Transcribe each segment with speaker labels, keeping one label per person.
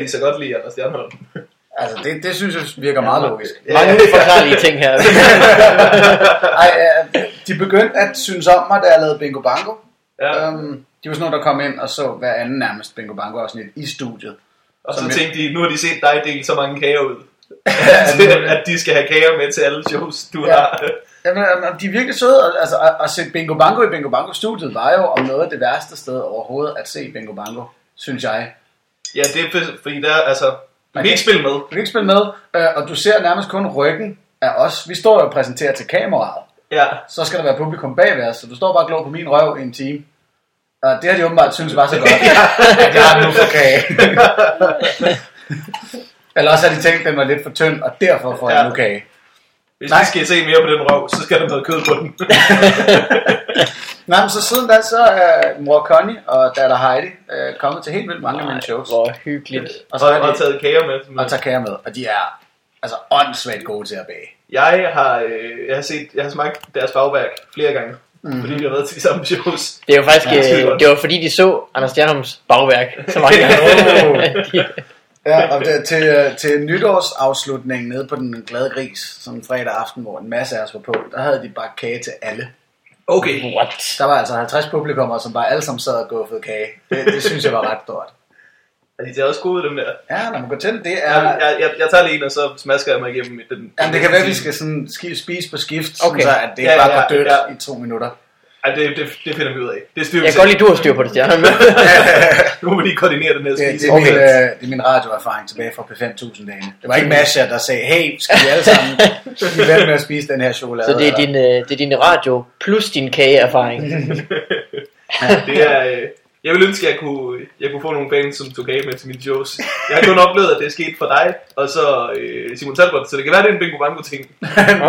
Speaker 1: de så godt lide Anders Stjernholm.
Speaker 2: Altså, det, det synes jeg virker meget logisk.
Speaker 3: Mange uforklarlige ting her.
Speaker 2: Ej, øh, de begyndte at synes om mig, da jeg lavede Bingo Bango.
Speaker 1: Ja.
Speaker 2: Øhm, de var sådan nogle, der kom ind og så hver anden nærmest Bingo Bango afsnit i studiet.
Speaker 1: Og så
Speaker 2: Som jeg-
Speaker 1: tænkte de, nu har de set dig dele så mange kager ud, at, at de skal have kager med til alle shows, du
Speaker 2: Ja.
Speaker 1: har.
Speaker 2: Jamen, jamen, de er virkelig søde, og, altså, at, at se Bingo Bango i Bingo Bango studiet var jo om noget af det værste sted overhovedet at se Bingo Bango, synes jeg.
Speaker 1: Ja, det er for- fordi der, altså, du
Speaker 2: Man
Speaker 1: kan
Speaker 2: kan-
Speaker 1: ikke spille med.
Speaker 2: Du kan ikke spille med, øh, og du ser nærmest kun ryggen af os. Vi står jo og præsenterer til kameraet.
Speaker 1: Ja.
Speaker 2: Så skal der være publikum bagved os, så du står bare og glor på min røv i en time. Og det har de åbenbart synes var så godt, at jeg har nu for kage. Eller også har de tænkt, at den var lidt for tynd, og derfor får jeg
Speaker 1: Ja.
Speaker 2: nu kage.
Speaker 1: Hvis
Speaker 2: Nej.
Speaker 1: vi skal se mere på den røv, så skal der noget kød på den.
Speaker 2: Nej, men så siden da, så er mor Connie og datter Heidi øh, kommet til helt vildt mange af mine shows.
Speaker 3: Hvor hyggeligt.
Speaker 2: Og
Speaker 1: og,
Speaker 2: så
Speaker 1: så
Speaker 2: er
Speaker 1: og
Speaker 2: de-
Speaker 1: taget kager med.
Speaker 2: Og tager kære med. Og de er altså åndssvagt gode til at bage.
Speaker 1: Jeg har, øh, jeg har set, jeg har smagt deres bagværk flere gange,
Speaker 2: Mhm.
Speaker 1: mm. fordi vi har været til de samme shows.
Speaker 3: Det er jo faktisk,
Speaker 1: Ja, skide
Speaker 3: øh,
Speaker 1: godt.
Speaker 3: det var fordi de så Anders Stjernholms bagværk så mange gange. De-
Speaker 2: Ja, og det, til, øh, til nytårsafslutningen nede på den glade gris, sådan en fredag aften, hvor en masse af os var på, der havde de bare kage til alle.
Speaker 1: Okay.
Speaker 3: What?
Speaker 2: Der var altså 50 publikummer, som bare alle sammen sad og guffede kage. Det, det synes jeg var ret stort.
Speaker 1: Altså, de er også gode, dem der.
Speaker 2: Ja, når man går til det, det
Speaker 1: Ja.
Speaker 2: er...
Speaker 1: Jeg, jeg, jeg tager lige en, og så smasker jeg mig igennem i den.
Speaker 2: Jamen, det kan være, at vi skal sådan ski- spise på skift, okay.
Speaker 3: Okay.
Speaker 2: så at det ikke
Speaker 1: Ja,
Speaker 2: bare
Speaker 1: ja,
Speaker 2: går dødt
Speaker 1: ja.
Speaker 2: i to minutter.
Speaker 1: Ej, det, det, det finder vi ud af. Det styrer vi
Speaker 3: Jeg
Speaker 1: selv.
Speaker 3: kan godt lide, du har styr på det, Stjernholm.
Speaker 1: Nu må vi lige koordinere den her
Speaker 2: Det, det,
Speaker 1: spise.
Speaker 2: er min,
Speaker 3: Okay.
Speaker 2: øh, det er min radioerfaring tilbage fra P5000 dagen. Det var ikke Masha, der sagde, hey, skal vi alle sammen blive vel med at spise den her chokolade?
Speaker 3: Så det er,
Speaker 2: eller-
Speaker 3: din, øh, det er din radio plus din kageerfaring.
Speaker 1: Det er, øh, jeg ville ønske, at jeg kunne, jeg kunne få nogle fans, som tog af med til mine shows. Jeg har kun oplevet, at det er sket for dig, og så øh, Simon Talbot, så det kan være, det er en bingo bango ting.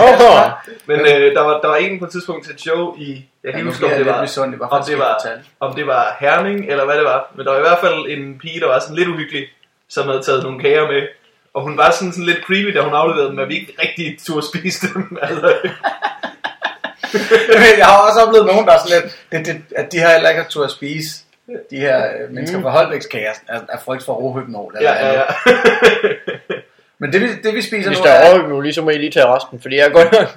Speaker 3: Åh,
Speaker 1: Men øh, der, var, der var en på et tidspunkt til et show i, jeg kan
Speaker 2: Ja,
Speaker 1: ikke
Speaker 2: nu
Speaker 1: huske, om
Speaker 2: bliver jeg
Speaker 1: det
Speaker 2: lidt
Speaker 1: var,
Speaker 2: misundelig, hvorfor
Speaker 1: om
Speaker 2: skal
Speaker 1: det
Speaker 2: jeg
Speaker 1: var,
Speaker 2: fortælle?
Speaker 1: om det var Herning, eller hvad det var. Men der var i hvert fald en pige, der var sådan lidt uhyggelig, som havde taget nogle kager med. Og hun var sådan, sådan lidt creepy, da hun afleverede dem, at vi ikke rigtig turde spise dem. altså,
Speaker 2: Men jeg har også oplevet nogen, der er sådan lidt, det, det, at de her heller ikke har tur at spise de her øh, mennesker fra Holbækskager af, af frygt for rohypnol.
Speaker 1: Mm. ja, ja, ja.
Speaker 2: Men det, vi- det vi spiser
Speaker 3: Hvis
Speaker 2: nu
Speaker 3: der
Speaker 2: er,
Speaker 3: er overhøb nu, lige så må I lige tage resten, fordi jeg er godt nok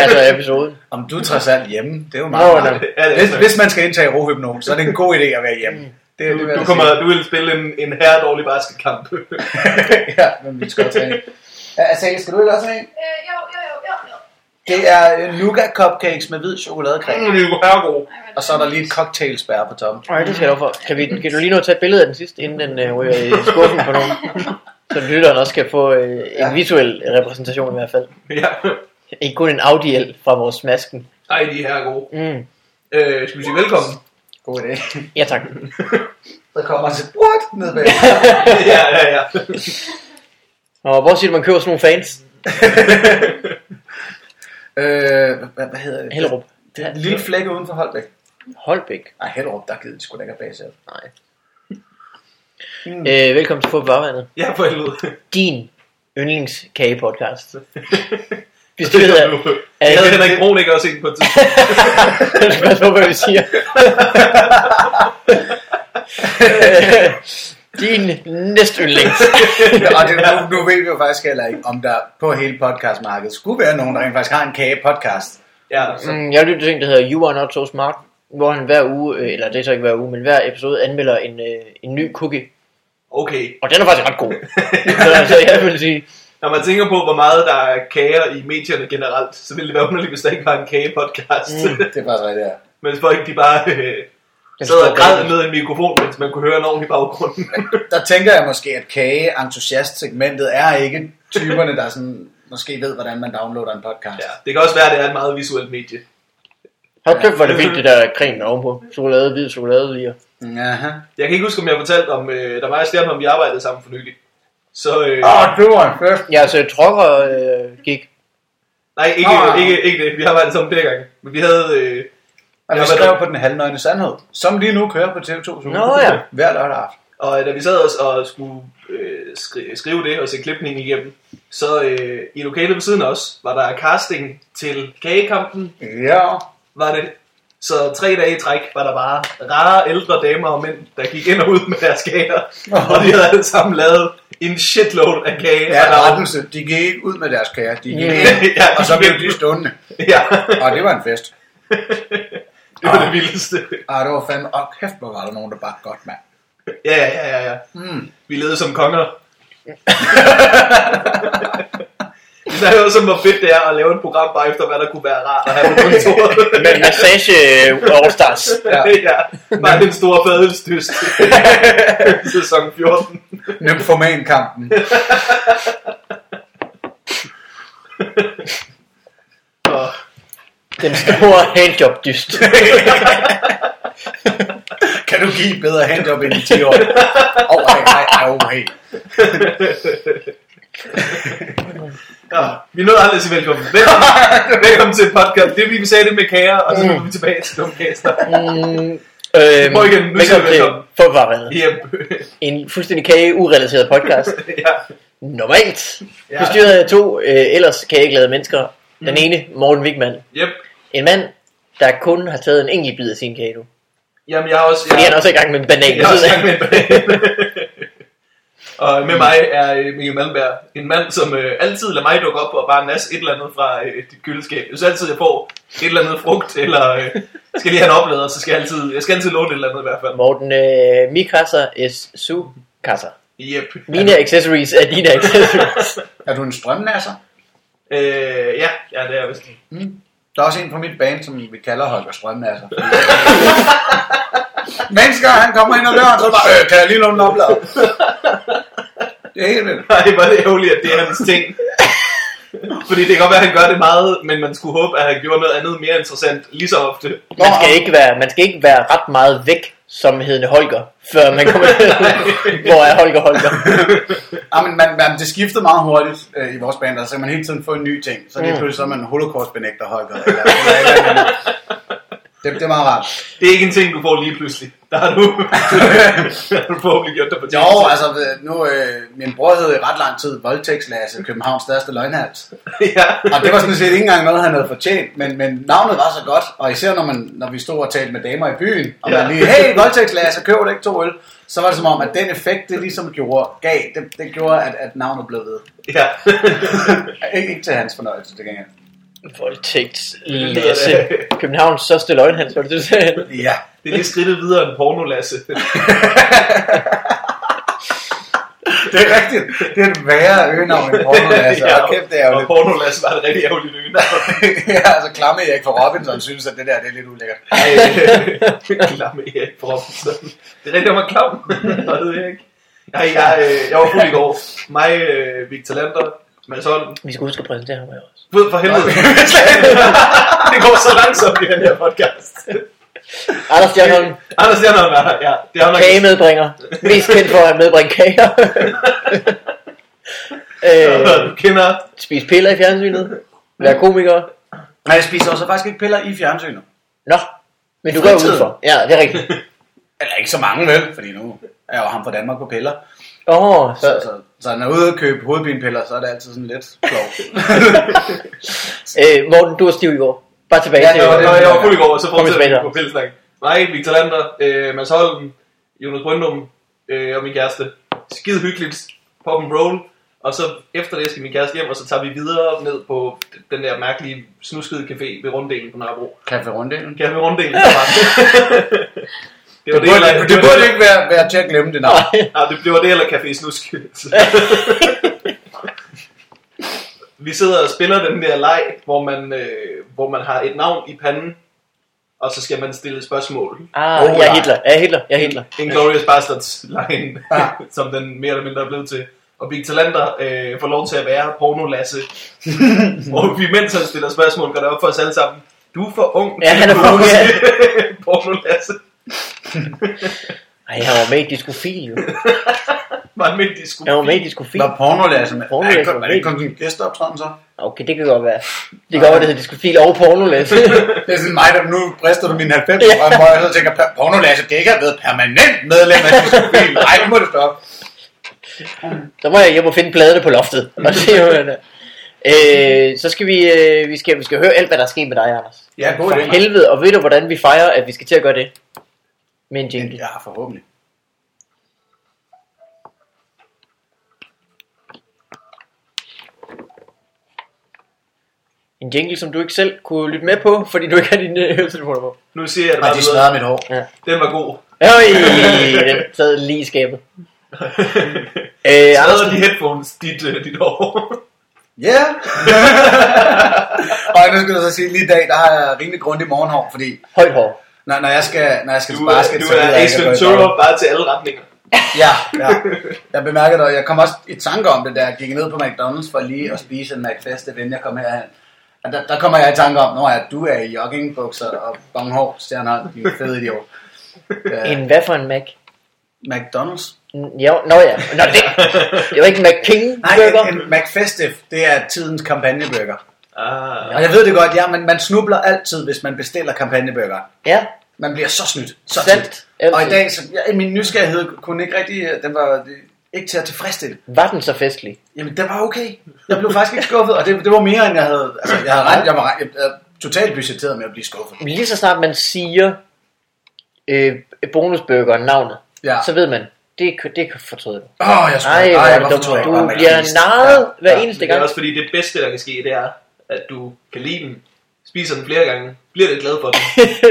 Speaker 3: altså episoden.
Speaker 2: om du er trods alt hjemme, det er jo meget,
Speaker 3: Nå,
Speaker 2: meget.
Speaker 3: nej.
Speaker 1: Ja, det er
Speaker 2: hvis,
Speaker 1: sådan.
Speaker 2: hvis, man skal indtage rohypnol, så er det en god idé at være hjemme. Mm. Det er det, vil
Speaker 1: Du,
Speaker 2: jeg
Speaker 1: du,
Speaker 2: da
Speaker 1: kommer, du vil spille en, en herre dårlig basketkamp.
Speaker 2: sige. ja, men vi skal også have en. Ja, Azalea, skal du ikke også have en?
Speaker 4: Øh, jo, jo, jo, jo, jo.
Speaker 2: Det er øh, nougat cupcakes med hvid chokoladecreme.
Speaker 1: Mm, det er jo herregod.
Speaker 4: Ej, hvor
Speaker 2: Og så er der lige et cocktailspær på toppen.
Speaker 3: Nej, det skal jeg lov for. Kan, vi, kan du lige nå at tage et billede af den sidste, inden den øh, ryger i skuffen på nogen? Så lytteren også kan få øh,
Speaker 2: Ja.
Speaker 3: en visuel repræsentation i hvert fald.
Speaker 1: Ja.
Speaker 3: Ikke kun en audiel fra vores masken.
Speaker 1: Ej, de er herregode.
Speaker 3: Mm.
Speaker 1: Øh, skal vi sige velkommen?
Speaker 2: God idé.
Speaker 3: Ja tak.
Speaker 2: Så kommer altså- han til, what? Ned bag.
Speaker 1: ja, ja, ja.
Speaker 3: Og hvor siger du, man køber sådan nogle fans?
Speaker 2: øh, hvad, hvad hedder det?
Speaker 3: Hellerup.
Speaker 2: Det er en lille flække uden for Holbæk.
Speaker 3: Holbæk.
Speaker 2: Ej, Hellerup, der gider de sgu da ikke at bage selv.
Speaker 3: Nej. Øh, velkommen til Få på Bagvandet.
Speaker 1: Ja, for helvede.
Speaker 3: Din yndlingskagepodcast. Bestyret af...
Speaker 1: Jeg havde
Speaker 3: af-
Speaker 1: Henrik Brun ikke også en på et tidspunkt.
Speaker 3: Jeg skal passe på, hvad vi siger. Øh, Din næste yndlings.
Speaker 2: Og det, nu, nu ved vi jo faktisk heller ikke, om der på hele podcastmarkedet skulle være nogen, der rent faktisk har en kagepodcast.
Speaker 1: Ja, så,
Speaker 3: Mm, Jeg lytter til en, der hedder You Are Not So Smart, hvor han hver uge, øh, eller det er så ikke hver uge, men hver episode anmelder en, øh, en ny cookie.
Speaker 1: okay.
Speaker 3: Og den er faktisk ret god. så altså, jeg vil sige,
Speaker 1: Når man tænker på, hvor meget der er kager i medierne generelt, så ville det være underligt, hvis der ikke var en kagepodcast. Mm.
Speaker 2: Det er faktisk rigtigt, ja.
Speaker 1: mens folk de bare øh,
Speaker 3: Den
Speaker 1: sad og
Speaker 3: store
Speaker 1: græd
Speaker 3: kage.
Speaker 1: ned i en mikrofon, mens man kunne høre en ordentlig baggrund.
Speaker 2: Der tænker jeg måske, at kageentusiast-segmentet er ikke typerne, der sådan, måske ved, hvordan man downloader en podcast.
Speaker 1: ja, det kan også være, at det er et meget visuelt medie.
Speaker 3: har kæft, hvor er det vildt, det der creme ovenpå. Chokolade, hvid chokolade lige.
Speaker 2: Aha.
Speaker 1: Jeg kan ikke huske, om jeg fortalte om, øh, der var jeg stjerne, om vi arbejdede sammen for nylig. Så, øh,
Speaker 2: Åh, du var en fest.
Speaker 3: Ja, så trokker øh, gik.
Speaker 1: nej, ikke,
Speaker 2: Nå.
Speaker 1: ikke, ikke det. Vi arbejdede sammen flere gange. Men vi havde, øh,
Speaker 2: Og vi
Speaker 1: Ja,
Speaker 2: skrev
Speaker 1: hvordan-
Speaker 2: på den halvnøgne sandhed, som lige nu kører på TV2
Speaker 3: Nå ja.
Speaker 2: hver lørdag aften.
Speaker 1: Og øh, da vi sad os og skulle øh, skri- skrive det og se klipningen igennem, så øh, i lokalet ved siden af os var der casting til kagekampen.
Speaker 2: Ja.
Speaker 1: Var det Så tre dage i træk var der bare rare ældre damer og mænd, der gik ind og ud med deres kager. Og de havde alle sammen lavet en shitload af kager.
Speaker 2: Ja,
Speaker 1: og der var-
Speaker 2: rettelse. De gik ikke ud med deres kære. De gik
Speaker 3: Ja.
Speaker 2: ind,
Speaker 1: Ja,
Speaker 2: og så
Speaker 1: de
Speaker 2: blev
Speaker 1: gik
Speaker 2: de stående.
Speaker 1: Ja,
Speaker 2: Og det var en fest.
Speaker 1: det var det vildeste.
Speaker 2: Og det var fandme, og kæft, hvor var der nogen, der bare godt, mand.
Speaker 1: Ja, ja, ja, ja, ja.
Speaker 2: Mm.
Speaker 1: Vi levede som konger. Vi snakker også om, hvor fedt det er at lave et program bare efter, hvad der kunne være rart at have på kontoret.
Speaker 3: Med massage øh, Allstars.
Speaker 1: ja. ja. Bare den store fadelsdyst. Sæson 14.
Speaker 2: Nymphoman-kampen.
Speaker 1: Og
Speaker 3: Den store handjob-dyst.
Speaker 2: Kan du give bedre handjob end i 10 år? Åh, oh, nej, nej, nej, okay.
Speaker 1: ja, vi nåede aldrig at sige velkommen. Velkommen, velkommen til podcast. Det er fordi, vi sagde det med kager, og så kommer vi tilbage til dumkæster.
Speaker 3: Mm, øhm,
Speaker 1: Øh, Prøv igen, nu siger vi velkommen.
Speaker 3: Folkevarerne.
Speaker 1: Yep.
Speaker 3: En fuldstændig kage-urelateret podcast.
Speaker 1: ja.
Speaker 3: Normalt.
Speaker 1: Ja. Mm.
Speaker 3: Bestyret af to øh, ellers kageglade mennesker. Den ene, Morten Wigman.
Speaker 1: Yep.
Speaker 3: En mand, der kun har taget en enkelt bid af sin kage nu.
Speaker 1: Jamen, jeg har også...
Speaker 3: Fordi han
Speaker 1: Jeg,
Speaker 3: er også i gang med en banan.
Speaker 1: jeg har også gang med en Og med mig er øh, Mikkel Malmberg, en mand, som øh, altid lader mig dukke op og bare nasse et eller andet fra øh, dit køleskab. Hvis altid jeg får et eller andet frugt, eller øh, skal lige have en oplader, så skal jeg altid, jeg skal altid låne et eller andet i hvert fald.
Speaker 3: Morten, øh, mi kasser es su kasser.
Speaker 1: Yep.
Speaker 3: Mine accessories er dine accessories.
Speaker 2: Er du en strømnasser?
Speaker 1: Øh, ja, ja, det er jeg vist.
Speaker 2: Der er også en på mit band, som vi kalder Holger Strømnasser. Mennesker, han kommer ind ad døren, så bare, øh, kan jeg lige låne en oplader? Det er helt vildt.
Speaker 1: Nej, hvor er det ærgerligt, at det er hans ting. Fordi det kan godt være, at han gør det meget, men man skulle håbe, at han gjorde noget andet mere interessant lige så ofte.
Speaker 3: Man skal ikke være, man skal ikke være ret meget væk som hedende Holger, før man kommer til, hvor er Holger Holger.
Speaker 2: Ja, Ah, men man, man, det skiftede meget hurtigt øh, i vores band, og så kan man hele tiden få en ny ting. Så lige
Speaker 3: Mm.
Speaker 2: pludselig så er man holocaust-benægter, Holger. Eller, eller, et eller, andet. det, det er meget rart.
Speaker 1: Det er ikke en ting, du får lige pludselig. Der har du, der har du forhåbentlig gjort det på
Speaker 2: Jo, altså øh, nu, øh, min bror hed i ret lang tid Voldtægtslasse, Københavns største løgnhals.
Speaker 1: ja.
Speaker 2: Og det var sådan set ikke engang noget, han havde fortjent, men, men navnet var så godt, og især når, man, når vi stod og talte med damer i byen, og
Speaker 1: Ja.
Speaker 2: man lige, hey, voldtægtslasse, køber du ikke to øl? Så var det som om, at den effekt, det ligesom gjorde, gav, det, det gjorde, at, at navnet blev ved.
Speaker 1: ja.
Speaker 2: ikke, ikke til hans fornøjelse, til gengæld.
Speaker 3: Voldtægt, Lasse, Københavns største løgnhals, var det det, du sagde?
Speaker 2: Ja.
Speaker 1: Det er lige skridtet videre end pornolasse.
Speaker 2: Det er rigtigt. Det er et værre øgenavn end porno, altså. Ja, kæft, det er
Speaker 1: og
Speaker 2: jo
Speaker 1: pornolasse var et rigtig ærgerligt øne.
Speaker 2: lidt... ja, altså klamme Erik for Robinson synes, at det der det er lidt ulækkert.
Speaker 1: Ej, klamme Erik Robinson. Det er rigtigt, jeg var klam. Og det ved jeg ikke. Nej, jeg, øh, jeg var fuld i går. Mig, øh, Victor Lander, Mads Holm,
Speaker 3: Vi skal huske at præsentere ham her også.
Speaker 1: Ved for helvede. det går så langsomt i den her podcast.
Speaker 3: Anders Stjernholm,
Speaker 1: Anders Stjernholm er her, ja. Det er ham, der
Speaker 3: kagemedbringer. Mest kendt for at medbringe kager. øh,
Speaker 1: du kender.
Speaker 3: spise piller i fjernsynet. Være komiker.
Speaker 2: Nej, jeg spiser også faktisk ikke piller i fjernsynet.
Speaker 3: Nå, men du går
Speaker 2: Fritiden.
Speaker 3: udenfor. Ja, det er rigtigt.
Speaker 2: Eller ikke så mange, vel? Fordi nu er jeg jo ham fra Danmark på piller.
Speaker 3: Åh, oh,
Speaker 2: Så,
Speaker 3: så,
Speaker 2: så, så når jeg er ude og købe hovedpinepiller, så er det altid sådan lidt klogt.
Speaker 3: øh, Morten, du er stiv i går. Bare tilbage
Speaker 2: Ja,
Speaker 3: til...
Speaker 2: det var det.
Speaker 1: Når jeg var fuld i går, så
Speaker 3: tilbage
Speaker 1: fortsætter
Speaker 3: der.
Speaker 1: vi på Pilsnak. Mig, Victor Lander, øh, Mads Holm, Jonas Brøndum øh, og min kæreste. Skide hyggeligt. Pop and roll. Og så efter det skal min kæreste hjem, og så tager vi videre ned på den der mærkelige snuskede café ved Runddelen på Nørrebro.
Speaker 2: Kaffe runddelen.
Speaker 1: Café Runddelen. det var
Speaker 2: Det burde, det, det burde ikke være, være til at glemme det navn.
Speaker 1: Nej, det, det var det, eller Café Snusk. vi sidder og spiller den der leg, hvor man, øh, hvor man har et navn i panden, og så skal man stille spørgsmål.
Speaker 3: Ah,
Speaker 2: Oh,
Speaker 3: jeg er
Speaker 2: nej.
Speaker 3: Hitler. Jeg er Hitler. Jeg er Hitler.
Speaker 1: Inglourious Bastards line,
Speaker 2: Ja.
Speaker 3: Ah.
Speaker 1: som den mere eller mindre er blevet til. Og Big Talander øh, får lov til at være porno-lasse. og vi, mens han stiller spørgsmål, går det op for os alle sammen. Du er for ung.
Speaker 3: Ja,
Speaker 1: til
Speaker 3: han er
Speaker 1: at
Speaker 3: for ung,
Speaker 1: kunne
Speaker 3: ja.
Speaker 1: se Porno-lasse.
Speaker 3: Ej, han var med i diskofil, jo.
Speaker 1: Var han med i disco?
Speaker 3: Han var med i diskofil.
Speaker 2: Var pornolæser med?
Speaker 3: Pornolæser
Speaker 2: Pornolæser
Speaker 3: med.
Speaker 2: Var det ikke kun sådan en gæsteoptræden så?
Speaker 3: Okay, det kan godt være. Det kan godt være, det hedder diskofil og pornolæs.
Speaker 2: Det er sådan mig, der nu brister du min 90 ja. og jeg så tænker, "Per- pornolæser, det ikke er blevet permanent medlem af diskobil. Nej, nu må det stoppe.
Speaker 3: Så må jeg hjem og finde pladerne på loftet. Og se, hvad det er. Øh, så skal vi, øh, vi, skal, vi skal høre alt, hvad der er sket med dig, Anders.
Speaker 1: Ja, god
Speaker 2: For
Speaker 1: idé.
Speaker 3: Helvede, og ved du, hvordan vi fejrer, at vi skal til at gøre det? Med en jingle.
Speaker 2: Ja, forhåbentlig.
Speaker 3: En jingle, som du ikke selv kunne lytte med på, fordi du ikke har dine øh, høretelefoner på.
Speaker 1: Nu siger jeg det
Speaker 2: Og
Speaker 1: bare
Speaker 2: de
Speaker 1: videre.
Speaker 2: smadrer mit hår.
Speaker 1: Den var god.
Speaker 3: Øj, den sad lige i skabet. Øh,
Speaker 1: Smadrer
Speaker 3: Anders,
Speaker 1: de headphones dit, øh, dit hår?
Speaker 2: Ja! Yeah. og nu skal jeg så sige, lige i dag, der har jeg rimelig grundig morgenhår, fordi
Speaker 3: højt hår.
Speaker 2: når, når jeg skal, når jeg skal
Speaker 1: Du,
Speaker 2: til
Speaker 1: er,
Speaker 2: basket,
Speaker 1: du
Speaker 2: så ved
Speaker 1: er
Speaker 2: jeg
Speaker 1: Ace
Speaker 2: ikke, at jeg går i
Speaker 1: Ventura
Speaker 2: bad.
Speaker 1: bare til alle retninger.
Speaker 2: Ja, ja. Jeg bemærkede det, og jeg kom også i tanke om det, da jeg gik ned på McDonald's for lige at spise en McFest, inden jeg kom herhen. Og der, der kommer jeg i tanke om, når jeg, du er i joggingbukser og bonghår, stjerner, din fede idiot.
Speaker 3: En hvad for en Mac?
Speaker 2: McDonald's?
Speaker 3: N- Jo, nå ja. Nå, det, det var ikke en
Speaker 2: Nej,
Speaker 3: McPing-burger.
Speaker 2: en, en McFestive, det er tidens kampagneburger.
Speaker 1: Ah.
Speaker 2: Og jeg ved det godt, ja, men man snubler altid, hvis man bestiller kampagneburger.
Speaker 3: Ja,
Speaker 2: Man bliver så snydt. Så
Speaker 3: Sandt.
Speaker 2: tit.
Speaker 3: Altid.
Speaker 2: Og i dag, så, ja, min nysgerrighed kunne ikke rigtig, øh, den var øh, ikke til at tilfredsstille.
Speaker 3: var den så festlig?
Speaker 2: Jamen, den var okay. Jeg blev faktisk ikke skuffet, og det, det var mere, end jeg havde, altså, jeg havde ret, jeg var, jeg, jeg, totalt budgetteret med at blive skuffet.
Speaker 3: Lige så snart man siger øh, bonusburgeren navnet,
Speaker 2: Ja.
Speaker 3: så ved man, det, kan- det kan fortryde du.
Speaker 2: Åh, jeg skulle,
Speaker 3: Nej, hvor er
Speaker 2: jeg
Speaker 3: det
Speaker 2: var
Speaker 3: dumt.
Speaker 2: fortrøjet,
Speaker 3: Du
Speaker 2: jeg var
Speaker 3: bliver
Speaker 2: McFeast.
Speaker 3: narret hver eneste
Speaker 1: Det er
Speaker 3: gang.
Speaker 1: også fordi det bedste, der kan ske, det er, at du kan lide den, spiser den flere gange, bliver lidt glad for den.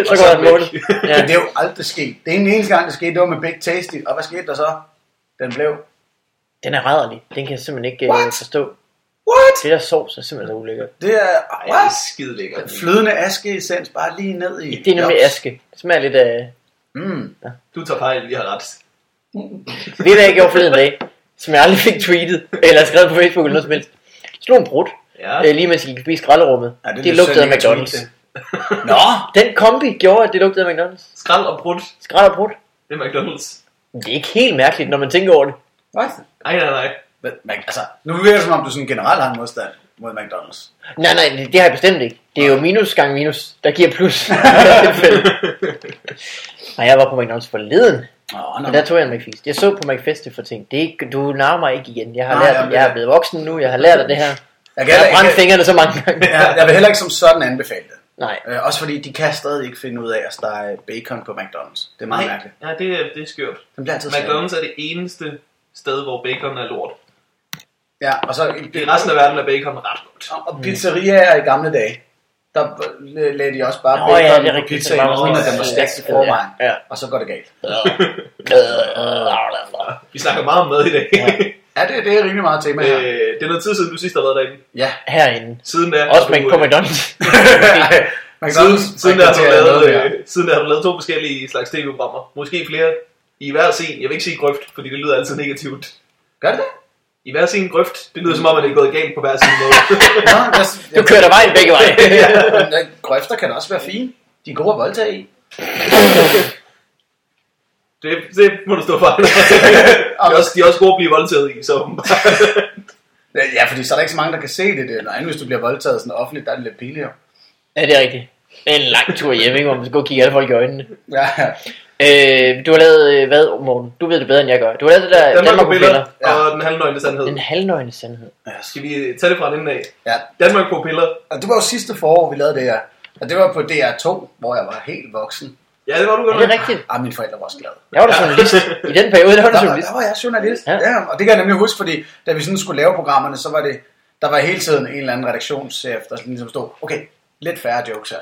Speaker 3: så går
Speaker 1: så
Speaker 3: der en
Speaker 1: væk.
Speaker 3: måned. Ja.
Speaker 2: Men det er jo aldrig sket. Det er den eneste gang, det skete, det var med Big Tasty. Og hvad skete der så? Den blev...
Speaker 3: Den er rædderlig. Den kan jeg simpelthen ikke øh,
Speaker 2: What?
Speaker 3: forstå.
Speaker 2: What?
Speaker 3: Det der sovs er simpelthen så ulækkert.
Speaker 2: Det er...
Speaker 1: Ej, det
Speaker 2: What?
Speaker 1: er skide lækkert.
Speaker 2: Flydende askeessens bare lige ned i...
Speaker 3: altså. Det er nemlig
Speaker 2: Jops.
Speaker 3: aske. Det smager lidt øh, af...
Speaker 2: Mm.
Speaker 1: Du tager fejl, vi har ret.
Speaker 3: Ved du, jeg gjorde forleden dag, som jeg aldrig fik tweetet, eller skrevet på Facebook eller noget som helst. Slog en brud,
Speaker 1: Ja.
Speaker 3: øh, lige mens jeg gik forbi skralderummet.
Speaker 2: Ja, det er
Speaker 3: det,
Speaker 2: lidt
Speaker 3: lugtede af
Speaker 2: synd, jeg
Speaker 3: McDonald's.
Speaker 2: tweetede Nå!
Speaker 3: Den kombi gjorde, at det lugtede af McDonald's.
Speaker 1: Skrald og brudt,
Speaker 3: Skrald og brud.
Speaker 1: det er McDonald's.
Speaker 3: Det er ikke helt mærkeligt, når man tænker over det.
Speaker 2: What?
Speaker 1: Nej, nej, nej.
Speaker 2: Men, men, altså, nu virker det som om, du sådan generelt har en modstand mod McDonald's.
Speaker 3: Nej, nej, det- det har jeg bestemt ikke. Det er jo minus gange minus, der giver plus. I det her tilfælde. Nej, jeg var på McDonald's forleden,
Speaker 2: Nå, nå.
Speaker 3: og der tog jeg en McFeast. Jeg så på McFest for ting. Det er ikke, du nærmer mig ikke igen. Jeg har
Speaker 2: Nej,
Speaker 3: lært,
Speaker 2: jamen,
Speaker 3: jeg
Speaker 2: det-
Speaker 3: er blevet voksen nu, jeg har lært af det her.
Speaker 2: jeg, kan
Speaker 3: Jeg har
Speaker 2: heller
Speaker 3: brændt
Speaker 2: ikke,
Speaker 3: fingrene så mange gange.
Speaker 2: jeg, jeg vil heller ikke som sådan anbefale det.
Speaker 3: Nej,
Speaker 2: Øh, også fordi de kan stadig ikke finde ud af at stege bacon på McDonald's. Det er
Speaker 1: Nej,
Speaker 2: meget Nej. mærkeligt.
Speaker 1: ja, det, er- det er skørt.
Speaker 2: Den bliver altid slået.
Speaker 1: McDonald's er det eneste sted, hvor bacon er lort.
Speaker 2: Ja, og så
Speaker 1: I resten af verden er bacon ret godt.
Speaker 2: Og- Og pizzeriaer i gamle dage, der øh, lagde de også bare
Speaker 3: Nå,
Speaker 2: bacon
Speaker 3: ja, det er
Speaker 2: på
Speaker 3: rigtigt,
Speaker 2: pizzaen,
Speaker 3: det var
Speaker 2: uden at
Speaker 1: også-
Speaker 2: den var
Speaker 1: ja,
Speaker 2: stærkt i
Speaker 3: ja,
Speaker 2: forvejen.
Speaker 3: ja.
Speaker 2: Og så går det galt.
Speaker 1: Vi snakker meget om mad i dag.
Speaker 3: Ja.
Speaker 2: Ja, det, det er rimelig meget tema her.
Speaker 1: øh, det er noget tid siden, du sidst har været derinde.
Speaker 2: Ja.
Speaker 3: herinde.
Speaker 1: Siden da,
Speaker 3: Også
Speaker 1: har
Speaker 3: med
Speaker 1: du,
Speaker 3: på
Speaker 1: øh,
Speaker 3: McDonald's.
Speaker 1: Siden,
Speaker 2: McDonald's
Speaker 1: siden, der har du
Speaker 2: rekrutterer
Speaker 1: lavet,
Speaker 2: noget mere.
Speaker 1: øh, siden der har du lavet to forskellige slags tv-programmer. Måske flere i hver scene. Jeg vil ikke sige grøft, fordi det lyder altid negativt.
Speaker 2: Gør det det?
Speaker 1: I hver sin grøft, det lyder som om, at det er gået galt på hver sin måde.
Speaker 2: Nå, jeg,
Speaker 3: Du kører der vejen begge veje.
Speaker 2: jeg, grøfter kan også være fine. De er gode at voldtage i.
Speaker 1: det, det må du stå for. de, er også, de er også gode at blive voldtaget i, så åbenbart.
Speaker 2: Ja, fordi så er der ikke så mange, der kan se det. det. er noget andet, hvis du bliver voldtaget sådan offentligt, der er det lidt pinligt. jo.
Speaker 3: ja, det er rigtigt. Det er en lang tur hjem, ikke, hvor man skal gå og kigge alle folk i øjnene.
Speaker 2: Ja, ja.
Speaker 3: Øh, du har lavet, øh, hvad, Morten? Du ved det bedre, end jeg gør. Du har lavet det der
Speaker 1: Danmark på piller,
Speaker 2: Ja.
Speaker 1: og den halvnøgne sandhed.
Speaker 3: En halvnøgne sandhed.
Speaker 1: Skal vi tage det fra den af?
Speaker 2: ja.
Speaker 1: Danmark på piller.
Speaker 2: Og det var jo sidste forår, vi lavede det her. Og det var på DR2, hvor jeg var helt voksen.
Speaker 1: Ja, det var du
Speaker 3: Er
Speaker 1: godt
Speaker 3: det
Speaker 1: nok.
Speaker 3: rigtigt?
Speaker 2: Ah, mine forældre var også glade.
Speaker 3: Jeg var da journalist. I den periode, der var du
Speaker 2: Der var,
Speaker 3: journalist.
Speaker 2: der var jeg journalist.
Speaker 3: Ja.
Speaker 2: Ja. ja. og det kan jeg nemlig huske, fordi da vi sådan skulle lave programmerne, så var det, der var hele tiden en eller anden redaktionschef, der sådan ligesom stod, okay, lidt færre jokes her.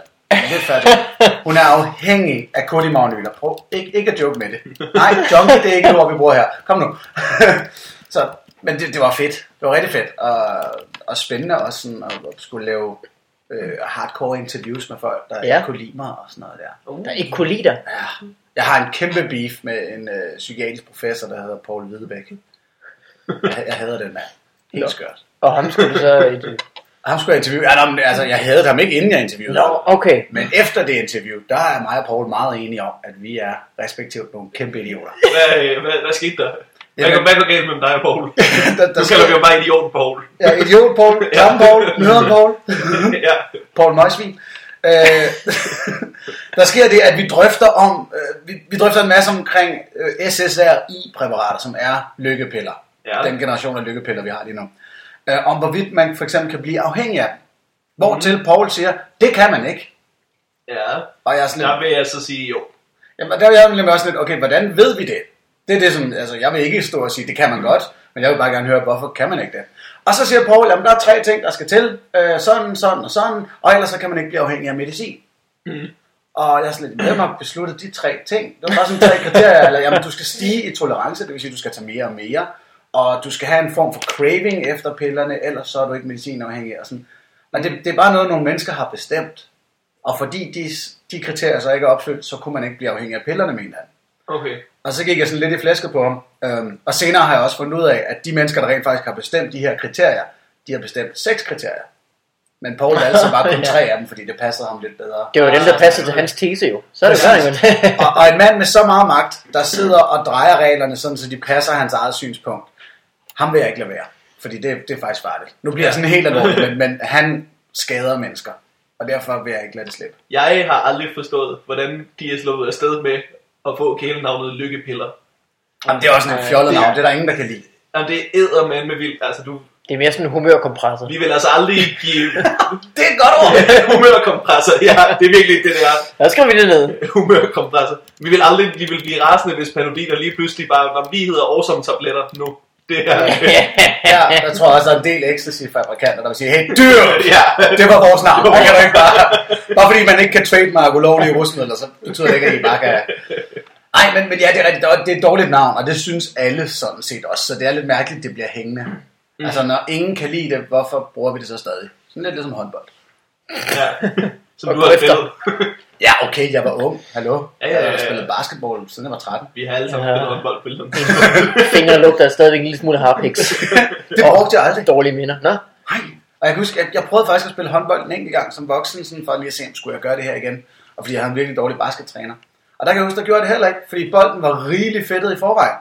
Speaker 2: Lidt færre jokes. Hun er afhængig af Cody Magnyler. Prøv ikke, ikke at joke med det. Nej, junkie, det er ikke noget, vi bruger her. Kom nu. så, men det, det, var fedt. Det var rigtig fedt. Og, og spændende også sådan, at skulle lave øh, hardcore interviews med folk, der
Speaker 3: Ja.
Speaker 2: ja. ikke kunne lide mig og sådan noget der.
Speaker 1: Uh,
Speaker 3: Der ikke kunne lide dig.
Speaker 2: Ja. Jeg har en kæmpe beef med en øh, psykiatrisk professor, der hedder Paul Hvidebæk. Jeg, jeg hader den mand.
Speaker 3: Nå.
Speaker 2: Helt skørt.
Speaker 3: Og ham skulle du så... øh,
Speaker 2: Ham skulle jeg interviewe. Ja, nå, men, altså, jeg havde ham ikke, inden jeg interviewede
Speaker 3: Nå,
Speaker 2: ham.
Speaker 3: okay.
Speaker 2: Men efter det interview, der er mig og Paul meget enige om, at vi er respektivt nogle kæmpe idioter.
Speaker 1: Hvad, øh, hvad, hvad skete der? Hvad,
Speaker 2: Jamen-
Speaker 1: går- hvad går galt mellem dig og Paul?
Speaker 2: der,
Speaker 1: Du kalder vi jo bare idioten Paul.
Speaker 2: Ja, idiot Paul, klamme Paul, nyder Paul.
Speaker 1: ja.
Speaker 2: Paul Møjsvin. Øh, der sker det, at vi drøfter om, øh, vi, vi drøfter en masse omkring øh, SSRI-præparater, som er lykkepiller.
Speaker 1: Ja.
Speaker 2: Den generation af lykkepiller, vi har lige nu. øh, om hvorvidt man for eksempel kan blive afhængig af den. Hvortil mm. Paul siger, det kan man ikke.
Speaker 1: Ja,
Speaker 2: Og jeg er sådan lidt,
Speaker 1: der vil jeg så sige jo.
Speaker 2: Jamen, der er jeg nemlig også lidt, okay, hvordan ved vi det? Det er det, som, altså, jeg vil ikke stå og sige, det kan man godt, men jeg vil bare gerne høre, hvorfor kan man ikke det? Og så siger Paul, at der er tre ting, der skal til, øh, sådan, sådan og sådan, og ellers så kan man ikke blive afhængig af medicin. Mm. Og jeg er sådan lidt, hvem har besluttet de tre ting? Det var bare sådan tre kriterier, eller jamen, du skal stige i tolerance, det vil sige, du skal tage mere og mere, og du skal have en form for craving efter pillerne, ellers så er du ikke medicinafhængig. Og sådan. Men det, det er bare noget, nogle mennesker har bestemt. Og fordi de, de kriterier så ikke er opfyldt, så kunne man ikke blive afhængig af pillerne, mente han.
Speaker 1: Okay.
Speaker 2: Og så gik jeg sådan lidt i flæsket på ham. Øhm, og senere har jeg også fundet ud af, at de mennesker, der rent faktisk har bestemt de her kriterier, de har bestemt seks kriterier. Men Paul valgte så bare kun tre af dem, fordi det passede ham lidt bedre.
Speaker 3: Det var dem, der passede til hans tese jo. Så er det klart,
Speaker 2: Præcis.
Speaker 3: men...
Speaker 2: og, og en mand med så meget magt, der sidder og drejer reglerne, sådan, så de passer hans eget synspunkt, ham vil jeg ikke lade være. Fordi det, det er faktisk farligt. Nu bliver jeg sådan helt alvorlig, men, men han skader mennesker. Og derfor vil jeg ikke lade det slippe.
Speaker 1: Jeg har aldrig forstået, hvordan de er slået afsted med at få kælenavnet Lykkepiller.
Speaker 2: Jamen, det er også sådan et fjollet navn, det er der ingen, der kan lide.
Speaker 1: Jamen, det æder man med vildt. Altså, du,
Speaker 3: det er mere sådan en humørkompressor.
Speaker 1: vi vil altså aldrig give
Speaker 2: Det er et godt ord!
Speaker 1: humørkompressor. Ja, det er virkelig det, det er.
Speaker 3: Der skriver vi det ned.
Speaker 1: Humørkompressor. Vi vil aldrig vi vil blive rasende, hvis panodiler lige pludselig bare, når vi hedder awesome tabletter nu. Det er...
Speaker 2: Ja, jeg tror også, der er en del ecstasy-fabrikanter, der vil sige, hey, dyr!
Speaker 1: ja.
Speaker 2: Det var vores navn. Det kan du ikke bare... Bare fordi man ikke kan trademark ulovlige rusmidler, så betyder det ikke, at I bare kan... Nej, men, men ja, det er rigtigt. Det er et dårligt navn, og det synes alle sådan set også. Så det er lidt mærkeligt, det bliver hængende. Mm. Altså, når ingen kan lide det, hvorfor bruger vi det så stadig? Sådan lidt ligesom håndbold.
Speaker 1: ja. Som
Speaker 3: Og
Speaker 1: du har
Speaker 3: grøfter.
Speaker 1: spillet.
Speaker 2: Ja, okay, jeg var ung. Hallo?
Speaker 1: Ja, ja, ja,
Speaker 2: Jeg
Speaker 1: ja.
Speaker 2: spillede basketball, siden jeg var 13.
Speaker 1: Vi har alle sammen
Speaker 3: Ja.
Speaker 1: spillet håndbold på et eller andet
Speaker 3: Fingrene lugter stadigvæk en lille smule af harpiks.
Speaker 2: Det brugte jeg aldrig.
Speaker 3: Dårlige minder. Nå,
Speaker 2: Nej. Og jeg kan huske, at jeg prøvede faktisk at spille håndbold en enkelt gang som voksen, sådan for lige at se, om skulle jeg gøre det her igen. Og fordi jeg havde en virkelig dårlig baskettræner. Og der kan jeg huske, der gjorde jeg det heller ikke, fordi bolden var rigelig fedtet i forvejen.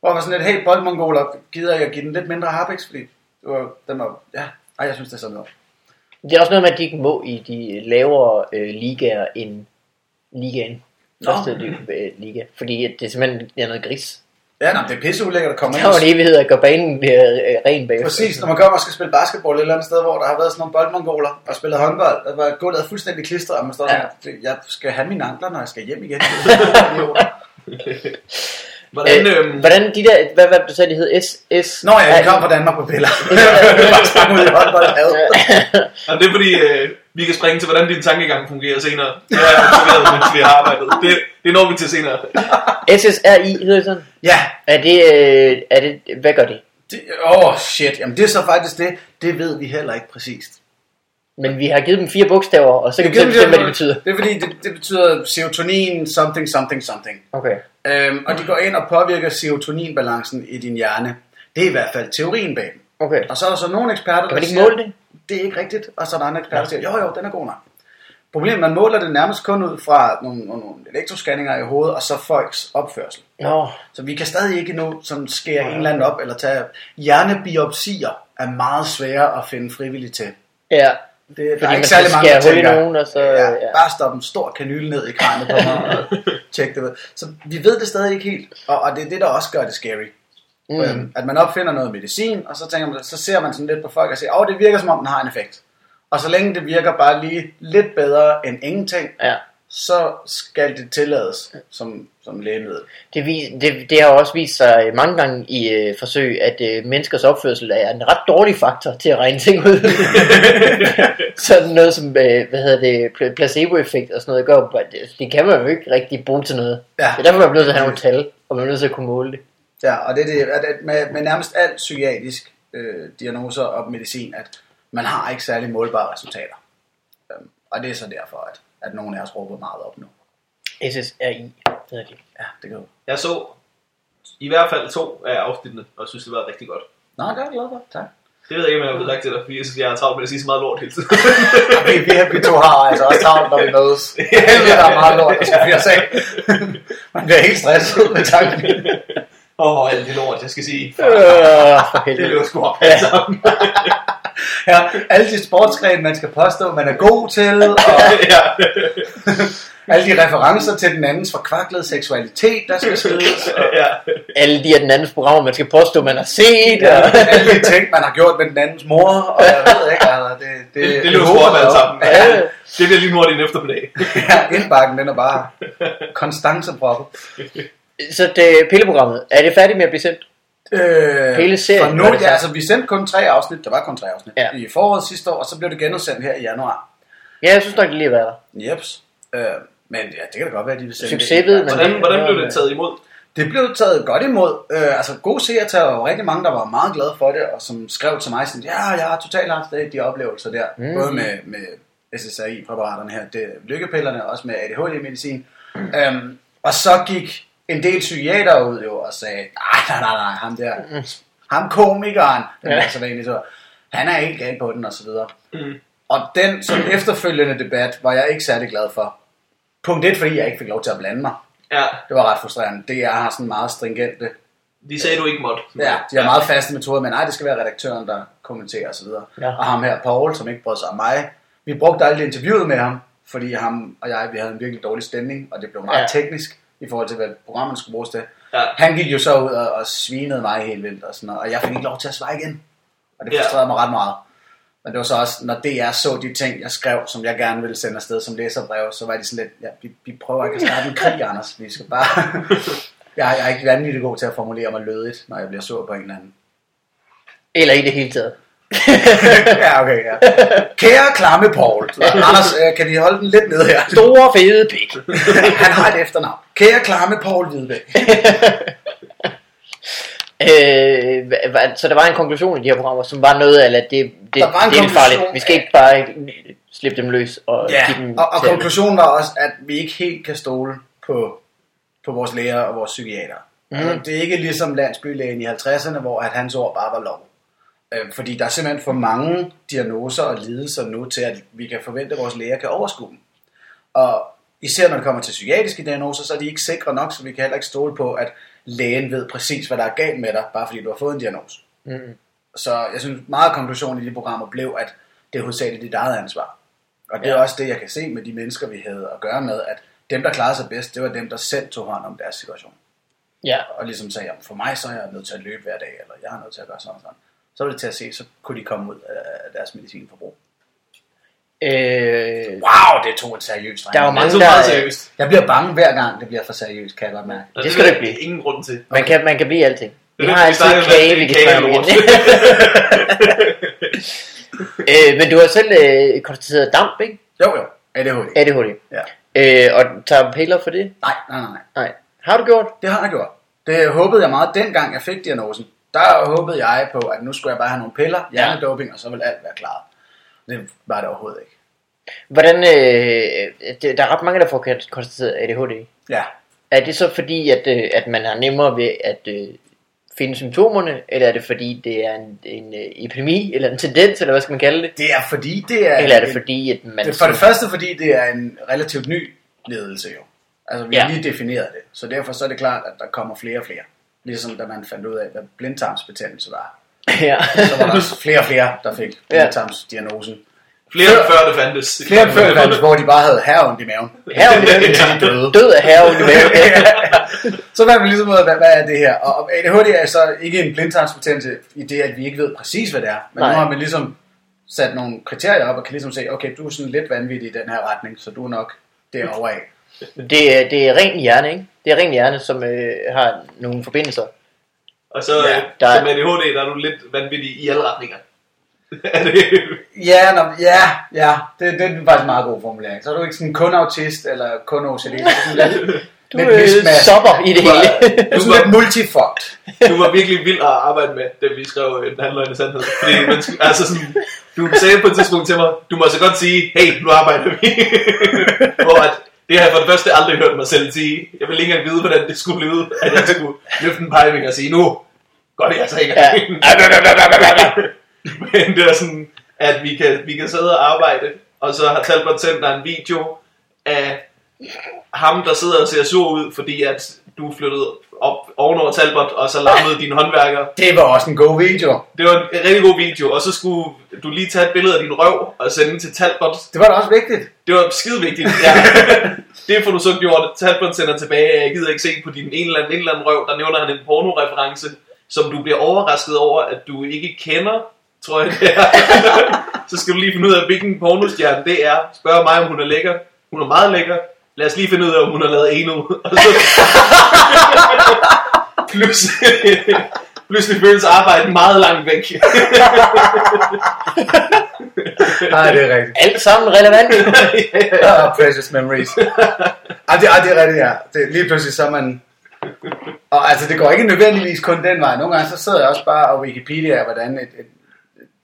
Speaker 2: Hvor jeg var sådan lidt, hey boldmongoler, gider jeg at give den lidt mindre harpiks, fordi det var, den var, ja, ej, jeg synes, det er sådan noget.
Speaker 3: Det er også noget med, at de ikke må i de lavere øh, ligaer end ligaen.
Speaker 2: Nå.
Speaker 3: Første øh, liga. Fordi at det simpelthen er noget gris.
Speaker 2: Ja, nej, det er pisseulækkert at komme
Speaker 3: Der var en
Speaker 2: ind.
Speaker 3: evighed at gøre banen øh, øh, ren bagefter.
Speaker 2: Præcis, når man kommer og skal spille basketball et eller andet sted, hvor der har været sådan nogle boldmongoler og spillet håndbold, der var gulvet er fuldstændig klistret, og man står sådan, ja. jeg skal have mine ankler, når jeg skal hjem igen.
Speaker 1: Hvordan, øhm,
Speaker 3: øh, hvordan de der, hvad var det, du sagde, de hed? S, S,
Speaker 2: Nå ja,
Speaker 3: Ej,
Speaker 2: vi kom fra Danmark på piller. Vi var bare sprang ud i håndbold. Ad.
Speaker 1: Jamen, det er fordi, øh, vi kan springe til, hvordan din tankegang fungerer senere. Det har jeg observeret, mens vi har arbejdet. Det, det når vi til senere.
Speaker 3: SSRI hedder det sådan.
Speaker 2: Ja,
Speaker 3: Er det, øh, er det, hvad gør de?
Speaker 2: det, oh shit, jamen det er så faktisk det. Det ved vi heller ikke præcist.
Speaker 3: Men vi har givet dem fire bogstaver, og så kan vi selv bestemme, hvad det betyder.
Speaker 2: Det er fordi, det, det betyder serotonin, something, something, something.
Speaker 3: Okay.
Speaker 2: Øhm, og de går ind og påvirker serotoninbalancen i din hjerne. Det er i hvert fald teorien bag dem.
Speaker 3: Okay.
Speaker 2: Og så er der så nogle eksperter,
Speaker 3: Kan man
Speaker 2: der
Speaker 3: ikke måle det?
Speaker 2: det er ikke rigtigt, og så er der andre eksperter, der siger, jo jo, den er god nok. Problemet, man måler det nærmest kun ud fra nogle, nogle, nogle elektroscanninger i hovedet, og så folks opførsel.
Speaker 3: Nå,
Speaker 2: Så vi kan stadig ikke nå sådan skære en eller anden op, eller tage hjernebiopsier er meget svære at finde frivilligt til.
Speaker 3: ja.
Speaker 2: Det, der er
Speaker 3: man
Speaker 2: ikke
Speaker 3: skal
Speaker 2: særlig mange, der
Speaker 3: skære hul i
Speaker 2: tænker,
Speaker 3: nogen, og så-
Speaker 2: ja,
Speaker 3: ja.
Speaker 2: bare stop en stor kanyle ned i kranet på mig og tjek det ved. Så vi ved det stadig ikke helt, og, og det er det, der også gør det scary. Mm. Øhm, at man opfinder noget medicin, og så, tænker man, så ser man sådan lidt på folk og siger, åh, det virker som om, den har en effekt. Og så længe det virker bare lige lidt bedre end ingenting,
Speaker 3: Ja.
Speaker 2: så skal det tillades som, som lægemiddel.
Speaker 3: Det, vis, det, det har også vist sig mange gange i øh, forsøg, at øh, menneskers opførsel er en ret dårlig faktor til at regne ting ud. sådan noget som, øh, hvad hedder det, pl- placeboeffekt og sådan noget, gør, at det, det kan man jo ikke rigtig bruge til noget.
Speaker 2: Ja.
Speaker 3: Det er derfor, man er nødt til at have nogle tal, og man er nødt til at kunne måle det.
Speaker 2: Ja, og det er det, at, at med, med nærmest alt psykiatrisk øh, diagnoser og medicin, at man har ikke særlig målbare resultater. Øhm, og det er så derfor, at, at nogen af os råber meget op nu.
Speaker 3: SSRI hedder det.
Speaker 2: Ja, det kan du.
Speaker 1: Jeg så i hvert fald to af afsnittene, og synes, det var rigtig godt.
Speaker 2: Nå, det er jeg glad for. Tak.
Speaker 1: Det ved jeg ikke, om jeg har sagt til dig, fordi jeg synes, jeg har travlt med at sige så meget lort hele tiden.
Speaker 2: Vi, vi, vi to har altså også travlt, når vi mødes. Helvede, der er meget lort, der skal blive sagt. Man bliver helt stresset med tanken.
Speaker 1: Åh, oh, alt det lort, jeg skal sige.
Speaker 3: Øh, for
Speaker 1: Det
Speaker 3: helvede.
Speaker 1: løber sgu op alle sammen.
Speaker 2: ja, alle de sportsgrene, man skal påstå, man er god til, og
Speaker 1: ja.
Speaker 2: alle de referencer til den andens forkvaklede seksualitet, der skal skrives, og
Speaker 1: ja.
Speaker 3: Alle de af den andens programmer, man skal påstå, man har set.
Speaker 2: ja,
Speaker 3: Ja. Og...
Speaker 2: alle de ting, man har gjort med den andens mor, og jeg ved ikke, altså, det, det,
Speaker 1: Det, det løber
Speaker 2: håber
Speaker 1: sport
Speaker 2: jeg
Speaker 1: alle
Speaker 2: også.
Speaker 1: sammen.
Speaker 3: Ja.
Speaker 1: Ja. Det bliver lige nu en eftermiddag.
Speaker 2: Ja, indbakken, den er bare konstance proppet.
Speaker 3: Så det, pilleprogrammet, er det færdigt med at blive sendt?
Speaker 2: Øh,
Speaker 3: Hele serien,
Speaker 2: For
Speaker 3: var
Speaker 2: nu,
Speaker 3: det
Speaker 2: ja,
Speaker 3: sagt.
Speaker 2: altså, vi sendte kun tre afsnit, der var kun tre afsnit,
Speaker 3: Ja.
Speaker 2: ja. i foråret sidste år, og så blev det genudsendt her i januar.
Speaker 3: Ja, jeg synes nok, det lige har været der.
Speaker 2: Jeps. Øh, men ja, det kan da godt være, at de vil sende
Speaker 3: Succes
Speaker 2: det.
Speaker 3: ved man.
Speaker 1: Hvordan, hvordan blev det taget imod?
Speaker 2: Det blev taget godt imod. Øh, altså, gode seertal og rigtig mange, der var meget glade for det, og som skrev til mig sådan, ja, jeg har totalt haft det, de oplevelser der.
Speaker 3: Mm.
Speaker 2: Mm. Både med, med SSRI-præparaterne her, det, lykkepillerne, og også med ADHD-medicin. Mm. Øhm, og så gik en del psykiater ud jo og sagde, nej, nej, nej, nej, ham der, mm. ham komikeren, den
Speaker 3: Ja.
Speaker 2: ja. så vanligt, så, han er helt gal på den, og så videre.
Speaker 1: Mm.
Speaker 2: Og den som efterfølgende debat var jeg ikke særlig glad for. Punkt et, fordi jeg ikke fik lov til at blande mig.
Speaker 1: Ja,
Speaker 2: Det var ret frustrerende. DR har sådan meget stringente
Speaker 1: de sagde, du ikke måtte.
Speaker 2: Ja, de har meget faste metoder, men nej, det skal være redaktøren, der kommenterer osv.
Speaker 3: Ja.
Speaker 2: Ja. Og ham her, Paul, som ikke brød sig om mig. Vi brugte aldrig interviewet med ham, fordi ham og jeg, vi havde en virkelig dårlig stemning, og det blev meget
Speaker 3: Ja.
Speaker 2: ja. teknisk i forhold til, hvad programmet skulle bruges til.
Speaker 1: Ja.
Speaker 2: Han gik jo så ud og, og svinede mig helt vildt, og, sådan, noget, og jeg fik ikke lov til at svare igen. Og det
Speaker 1: Ja.
Speaker 2: frustrerede ja. mig ret meget. Men det var så også, når DR så de ting, jeg skrev, som jeg gerne ville sende afsted som læserbrev, så var de sådan lidt, ja, vi, vi prøver ikke at starte en krig, Anders. Vi skal bare... jeg, jeg er ikke vanvittigt god til at formulere mig lødigt, når jeg bliver sur på en eller anden.
Speaker 3: Eller i det hele taget.
Speaker 2: ja, okay, ja. Kære klamme Paul. Anders, øh, kan vi holde den lidt ned her?
Speaker 3: Store fede pik.
Speaker 2: Han har et efternavn. Kære klamme Paul Hvidebæk.
Speaker 3: Øh, hva- hva- så der var en konklusion i de her programmer, som var noget af, at det, det, det
Speaker 2: Der var en
Speaker 3: er farligt.
Speaker 2: konklusion
Speaker 3: Vi skal ikke bare slippe dem løs og
Speaker 2: Ja,
Speaker 3: give dem
Speaker 2: og, og
Speaker 3: til-
Speaker 2: konklusionen var også, at vi ikke helt kan stole på, på vores læger og vores psykiater.
Speaker 3: Mhm.
Speaker 2: Mm. Altså, det er ikke ligesom landsbylægen i 50'erne, hvor at hans ord bare var lov. Øh, fordi der er simpelthen for mange diagnoser og lidelser nu til, at vi kan forvente, at vores læger kan overskue dem. Og især når det kommer til psykiatriske diagnoser, så er de ikke sikre nok, så vi kan heller ikke stole på, at lægen ved præcis, hvad der er galt med dig, bare fordi du har fået en diagnose.
Speaker 3: Mm.
Speaker 2: Så jeg synes, meget af konklusionen i de programmer blev, at det er hovedsageligt dit eget ansvar. Og det er
Speaker 3: Ja.
Speaker 2: også det, jeg kan se med de mennesker, vi havde at gøre med, at dem, der klarede sig bedst, det var dem, der selv tog hånd om deres situation.
Speaker 3: Ja,
Speaker 2: Og ligesom sagde, "Jamen, for mig så er jeg nødt til at løbe hver dag, eller jeg er nødt til at gøre sådan og sådan. Så var det til at se, så kunne de komme ud af deres medicinforbrug.
Speaker 3: øh,
Speaker 2: Wow, det tog et seriøst dreng.
Speaker 3: Der er jo
Speaker 1: Men
Speaker 3: mange,
Speaker 1: det
Speaker 3: der-
Speaker 1: er meget seriøst.
Speaker 2: Jeg bliver bange hver gang, det bliver for seriøst, kan jeg godt mærke.
Speaker 1: Og
Speaker 3: det skal
Speaker 1: er
Speaker 3: det blive.
Speaker 1: Ingen grund til.
Speaker 3: man, kan, man kan blive alting. Vi
Speaker 1: Det er
Speaker 3: har
Speaker 1: det, vi
Speaker 3: altid
Speaker 1: snakker om,
Speaker 3: kage,
Speaker 1: at
Speaker 3: vi kan
Speaker 1: kage er
Speaker 3: snakke om
Speaker 1: lort.
Speaker 3: igen. øh, men du har selv øh, konstateret damp, ikke?
Speaker 2: Jo, jo. ADHD.
Speaker 3: ADHD.
Speaker 2: Ja.
Speaker 3: Øh, og tager piller for det?
Speaker 2: Nej, nej, nej, nej.
Speaker 3: Nej. Har du gjort?
Speaker 2: Det har jeg gjort. Det håbede jeg meget dengang, jeg fik diagnosen. Der håbede jeg på, at nu skulle jeg bare have nogle piller, hjernedoping, og så ville alt være klaret. Det var det overhovedet ikke.
Speaker 3: Hvordan, øh, det, der er ret mange, der får kon- konstateret ADHD.
Speaker 2: Ja.
Speaker 3: Er det så fordi, at, øh, at man har nemmere ved at øh, finde symptomerne, eller er det fordi, det er en, en øh, epidemi, eller en tendens, eller hvad skal man kalde det?
Speaker 2: Det er fordi, det er...
Speaker 3: Eller er det
Speaker 2: en-
Speaker 3: fordi, at man...
Speaker 2: det, for det første, fordi det er en relativt ny ledelse jo. Altså, vi har
Speaker 3: Ja.
Speaker 2: lige defineret det. Så derfor så er det klart, at der kommer flere og flere. Ligesom da man fandt ud af, hvad blindtarmsbetændelse var.
Speaker 3: ja.
Speaker 2: Så var der flere og flere, der fik
Speaker 3: Ja.
Speaker 2: blindtarmsdiagnosen.
Speaker 1: Flere end før det fandtes.
Speaker 2: Flere og flere, hvor de bare havde herreondt i maven.
Speaker 3: Herre,
Speaker 2: Indtil de døde.
Speaker 3: død af herre, ja.
Speaker 2: så fandt vi ligesom ud af, hvad, hvad er det her? Og og ADHD er så ikke en blindtarmsbetændelse i det, at vi ikke ved præcis, hvad det er. Men
Speaker 3: Nej.
Speaker 2: Nej. nu har man ligesom sat nogle kriterier op og kan ligesom se, okay, du er sådan lidt vanvittig i den her retning, så du er nok derovre af.
Speaker 3: det, er- det er ren hjerne, ikke? Det er ren hjerne, som øh, har nogle forbindelser.
Speaker 1: Og så
Speaker 2: Ja,
Speaker 1: ja,
Speaker 3: der er-
Speaker 1: som ADHD, der er du lidt vanvittig i alle retninger. er det...
Speaker 2: Ja, nå, ja, ja. Det, det er faktisk en meget god formulering. Så er du ikke sådan kun autist eller kun OCD. Du er sådan lidt,
Speaker 3: Du øh,
Speaker 2: mismatch.
Speaker 3: stopper i det
Speaker 1: Du er-
Speaker 3: hele.
Speaker 2: Du er sådan lidt multifugt.
Speaker 1: Du var virkelig vild at arbejde med, da vi skrev øh, den anden løgne sandhed. Fordi man, skulle- altså sådan, du sagde på et tidspunkt til mig, du må så godt sige, hey, nu arbejder vi. Hvor at, det har jeg for det første aldrig hørt mig selv sige. Jeg ville ikke engang vide, hvordan det skulle lyde, at jeg skulle løfte en pegefinger og sige, nu går det altså ikke.
Speaker 3: Ja.
Speaker 1: Men det er sådan, at vi kan, vi kan sidde og arbejde, og så har Talbot sendt dig en video af ham, der sidder og ser sur ud, fordi at du flyttede op ovenover Talbot, og så lammede dine håndværker.
Speaker 2: Det var også en god video.
Speaker 1: Det var en rigtig god video, og så skulle du lige tage et billede af din røv og sende til Talbot.
Speaker 2: Det var da også vigtigt.
Speaker 1: Det var skide vigtigt. Ja. det får du så gjort. Talbot sender tilbage, jeg gider ikke se på din en eller anden, en eller anden røv. Der nævner han en pornoreference, som du bliver overrasket over, at du ikke kender, tror jeg det er. så skal du lige finde ud af, hvilken pornostjerne det er. Spørg mig, om hun er lækker. Hun er meget lækker. Lad os lige finde ud af, om hun har lavet endnu. Og så... Plus... Pludselig føles arbejdet meget langt væk.
Speaker 2: Nej, det er rigtigt.
Speaker 3: Alt sammen relevant.
Speaker 2: Ah, precious memories. Ej, det, ej, det er rigtigt, ja. Det, lige pludselig så er man... Og altså, det går ikke nødvendigvis kun den vej. Nogle gange så sidder jeg også bare og Wikipedia, hvordan et, et,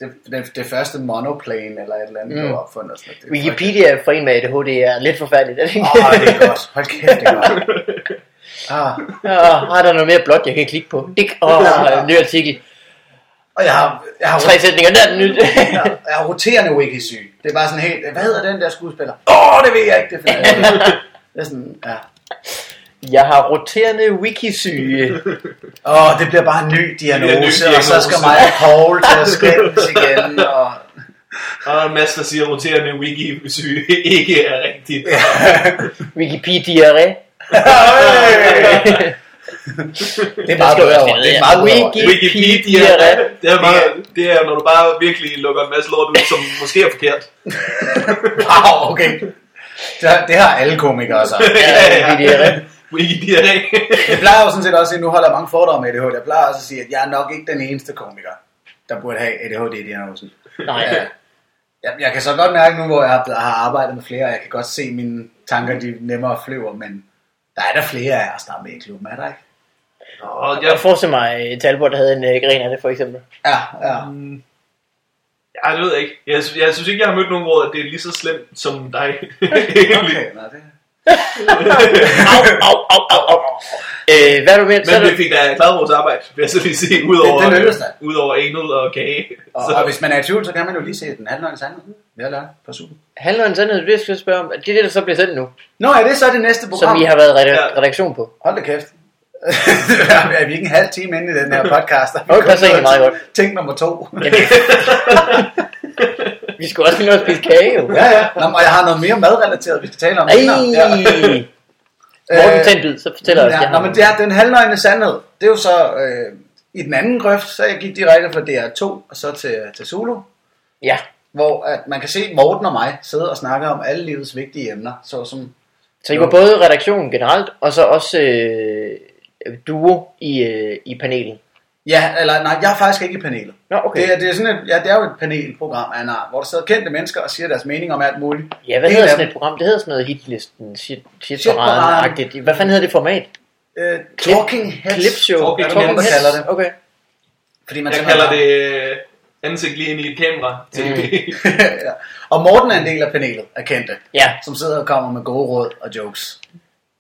Speaker 2: det, det, det, første monoplane eller et eller andet, mm. blev opfundet. og Sådan, noget. det, er
Speaker 3: Wikipedia for en med ADHD er lidt forfærdeligt. er det ikke?
Speaker 2: frygteligt. Åh, det er godt. Hold kæft, det er godt. Ah,
Speaker 3: Åh, har der noget mere blåt, jeg kan klikke på? Det åh, en ny artikel.
Speaker 2: og jeg har, jeg har,
Speaker 3: Tre sætninger, der er den nyt.
Speaker 2: jeg, jeg har roterende wikisyg. Det er bare sådan helt, hvad hedder den der skuespiller? Åh, oh, det ved jeg ikke, det finder jeg ikke. Det er sådan, ja.
Speaker 3: Jeg har roterende wikisyge.
Speaker 2: Åh, det bliver bare en ny diagnose,
Speaker 1: Det bliver
Speaker 2: ny
Speaker 1: en ny
Speaker 2: diagnose. og så skal
Speaker 1: diagnose.
Speaker 2: mig og Paul til at skændes igen. Og...
Speaker 1: Og der er en masse, der siger, at roterende wiki-syge ikke er rigtigt. Ja.
Speaker 3: Wikipedia.
Speaker 2: Det er meget bedre ord. Det er meget bedre ord.
Speaker 3: Wiki-
Speaker 1: Wikipedia,
Speaker 3: Wikipedia.
Speaker 1: det er, bare, det er, når du bare virkelig lukker en masse lort ud, som måske er forkert.
Speaker 2: Wow, okay. Det har, det har alle komikere så.
Speaker 3: Wikipedia.
Speaker 1: Wikipedia.
Speaker 2: Jeg plejer jo sådan set også at sige, nu holder jeg mange fordomme med ADHD. Jeg plejer også at sige, at jeg er nok ikke den eneste komiker, der burde have ADHD-diagnosen.
Speaker 3: Nej.
Speaker 2: Ja. Jeg, jeg kan så godt mærke nu, hvor jeg har, har arbejdet med flere, og jeg kan godt se, at mine tanker de nemmere flyver, men der er der flere af os, der er med i klubben, er der ikke?
Speaker 1: Og jeg,
Speaker 3: Jeg forestiller mig, at Talbot havde en øh, gren af det, for eksempel.
Speaker 2: Ja, ja.
Speaker 1: jeg ved ikke. Jeg, sy- jeg synes ikke, jeg har mødt nogen, hvor det er lige så slemt som dig. Egentlig.
Speaker 2: Okay, nå, det...
Speaker 3: Au, au, au, au, au. Øh, hvad er du med? Så er
Speaker 1: Men
Speaker 3: du...
Speaker 1: det fik da Kladrups arbejde, vil jeg så lige sige, udover,
Speaker 2: Det- det lykkedes da.
Speaker 1: udover anal og kage.
Speaker 2: Og,
Speaker 1: Så-
Speaker 2: og, hvis man er i tvivl, så kan man jo lige se den halvnøgne sandhed. Vi har lært på super.
Speaker 3: Handler en sandhed, det er det, jeg skal spørge om. Det er det, der så bliver sendt nu,
Speaker 2: Nå, er det så det næste program?
Speaker 3: som vi har været
Speaker 1: Ja.
Speaker 3: reda- redaktion på.
Speaker 2: Hold da kæft. er vi ikke en halv time inde i den her podcast?
Speaker 3: Nå, det passer egentlig meget godt.
Speaker 2: Ting nummer to.
Speaker 3: Vi skulle også lige nå at spise kage, jo.
Speaker 2: ja, ja. Nå, og jeg har noget mere madrelateret, vi skal tale om.
Speaker 3: Ej!
Speaker 2: senere. Ja.
Speaker 3: Morten,
Speaker 2: Øh,
Speaker 3: tag en bid, så fortæller os. jeg
Speaker 2: Ja,
Speaker 3: har-
Speaker 2: nå, men det er den halvnøgne sandhed. Det er jo så øh, i den anden grøft, så jeg gik direkte fra DR2 og så til, til Zulu,
Speaker 3: Ja,
Speaker 2: hvor at man kan se Morten og mig sidde og snakke om alle livets vigtige emner, såsom
Speaker 3: så I var både redaktionen generelt, og så også øh, duo i, øh, i panelet.
Speaker 2: Ja, eller nej, jeg er faktisk ikke i panelet.
Speaker 3: Nå, okay.
Speaker 2: Det, er, det, er sådan et, ja, det er jo et panelprogram af en art, hvor der sidder kendte mennesker og siger deres mening om alt muligt.
Speaker 3: Ja, hvad
Speaker 2: En
Speaker 3: hedder
Speaker 2: af
Speaker 3: sådan
Speaker 2: dem,
Speaker 3: et program? Det hedder sådan noget hitlisten, shit,
Speaker 2: Shitparaden.
Speaker 3: shitparaden-agtigt. Hvad fanden hedder det format?
Speaker 2: Øh, talking Heads.
Speaker 3: Clipshow.
Speaker 1: Talking
Speaker 2: Talking
Speaker 1: Heads.
Speaker 2: Heads. kalder det.
Speaker 3: Okay.
Speaker 2: Fordi man
Speaker 1: Jeg kalder
Speaker 2: simpelthen
Speaker 1: det øh, ansigt lige ind i et kamera. Til.
Speaker 2: har- ja. Og Morten er en del af panelet af kendte,
Speaker 3: Ja,
Speaker 2: som sidder og kommer med gode råd og jokes.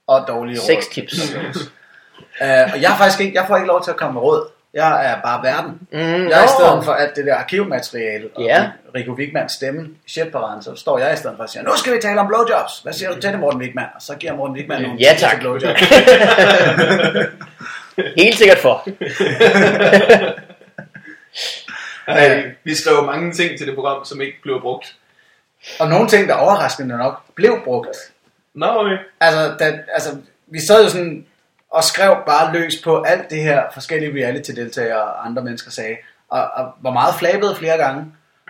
Speaker 2: Og dårlige råd.
Speaker 3: seks tips.
Speaker 2: Øh, og jeg, er faktisk ikke, jeg får ikke lov til at komme med råd. Jeg er bare verden.
Speaker 3: Mm,
Speaker 2: Jeg er i
Speaker 3: nå.
Speaker 2: stedet for alt det der arkivmateriale og
Speaker 3: Ja.
Speaker 2: Rico Wigmans stemme i shitparaden, så står jeg i stedet for og siger, nu skal vi tale om blowjobs. Hvad siger du til det, Morten Wigman? Og så giver Morten Wigman nogle
Speaker 3: Ja,
Speaker 2: tips til
Speaker 3: tak.
Speaker 2: blowjobs.
Speaker 3: Helt sikkert for.
Speaker 1: Øh, Vi skrev mange ting til det program, som ikke blev brugt.
Speaker 2: og nogle ting, der overraskende nok blev brugt.
Speaker 1: Nå, okay.
Speaker 2: Altså, da, altså, vi sad jo sådan og skrev bare løs på alt det her forskellige reality-deltagere og andre mennesker sagde, og, og var meget flabet flere gange.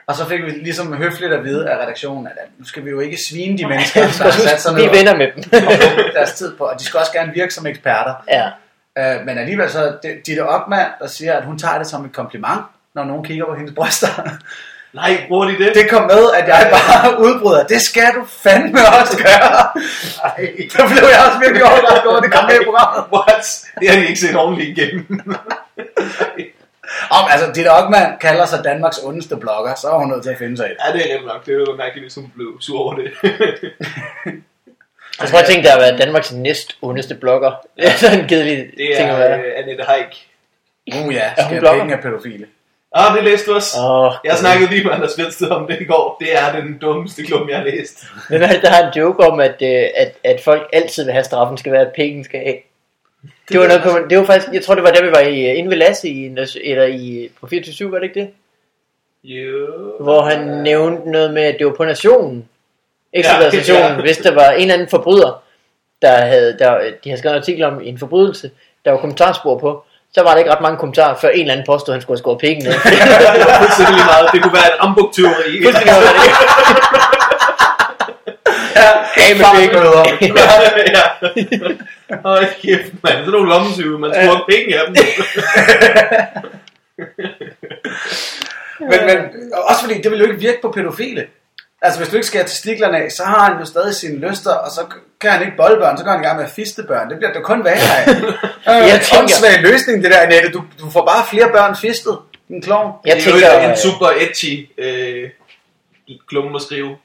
Speaker 2: Og så fik vi ligesom høfligt at vide af redaktionen, at, at nu skal vi jo ikke svine de mennesker, der har sat sig ned
Speaker 3: Vi
Speaker 2: og
Speaker 3: vender med dem.
Speaker 2: og brugt deres tid på, og de skal også gerne virke som eksperter.
Speaker 3: ja.
Speaker 2: Øh, men alligevel så er det- Ditte Opmann, der siger, at hun tager det som et kompliment, når nogen kigger på hendes bryster.
Speaker 1: Nej, bruger de det?
Speaker 2: Det kom med, at jeg bare udbryder. Det skal du fandme også gøre. Ej, der blev jeg også virkelig overrasket over, at det kom med i programmet.
Speaker 1: What? Det har de ikke set ordentligt igennem.
Speaker 2: Om, altså, Ditte Ockmann kalder sig Danmarks ondeste blogger, så er hun nødt til at finde sig i det.
Speaker 1: ja, det er nemt nok. Det var mærkeligt, hvis hun blev sur over det.
Speaker 3: Jeg tror, jeg tænkte, der har været Danmarks næst ondeste blogger. Det er sådan en kedelig
Speaker 1: det
Speaker 3: ting at
Speaker 1: er
Speaker 3: være.
Speaker 1: øh, Annette Heik.
Speaker 2: Uh ja,
Speaker 3: Er hun
Speaker 2: skal
Speaker 3: blogger?
Speaker 2: penge af pædofile.
Speaker 1: Ah, det læste du også.
Speaker 3: Åh,
Speaker 1: Jeg snakkede lige med Anders Velsted om det i går. Det er den dummeste klum, jeg har læst.
Speaker 3: Hvem er det, der har en joke om, at, øh, at, at folk altid vil have straffen skal være, at penge skal af? Det var, noget, kommen- det var faktisk, jeg tror det var da vi var i, øh, inde ved Lasse, i, en- eller i, på 24-7, var det ikke det?
Speaker 1: Jo.
Speaker 3: Hvor han nævnte noget med, at det var på nationen.
Speaker 1: Ja,
Speaker 3: Ekstrabladet
Speaker 1: ja.
Speaker 3: nationen, hvis der var en eller anden forbryder, der havde, der, de havde skrevet en artikel om en forbrydelse, der var kommentarspor på. Så var der ikke ret mange kommentarer, før en eller anden påstod, at han skulle have skåret penge ned.
Speaker 1: Det var fuldstændig lige meget. Det kunne være et rambuktyveri.
Speaker 3: Fuldstændig var det. Af med penge.
Speaker 1: ja. Hold kæft, mand. Sådan nogle lommetyve. Man spurgte penge af dem.
Speaker 2: Men, men også fordi, det vil jo ikke virke på pædofile. Altså, hvis du ikke skærer testiklerne af, så har han jo stadig sine lyster, og så kan han ikke bolde børn, så går han i gang med at fiste børn. Det bliver der kun værre af.
Speaker 3: Jeg
Speaker 2: Jeg
Speaker 3: tænker-
Speaker 2: tænker... Åndssvag løsning, det der, Annette. Du, du får bare flere børn fistet. En klovn.
Speaker 3: Jeg
Speaker 1: det er jo
Speaker 3: tænker,
Speaker 1: en super edgy øh, klumme at skrive.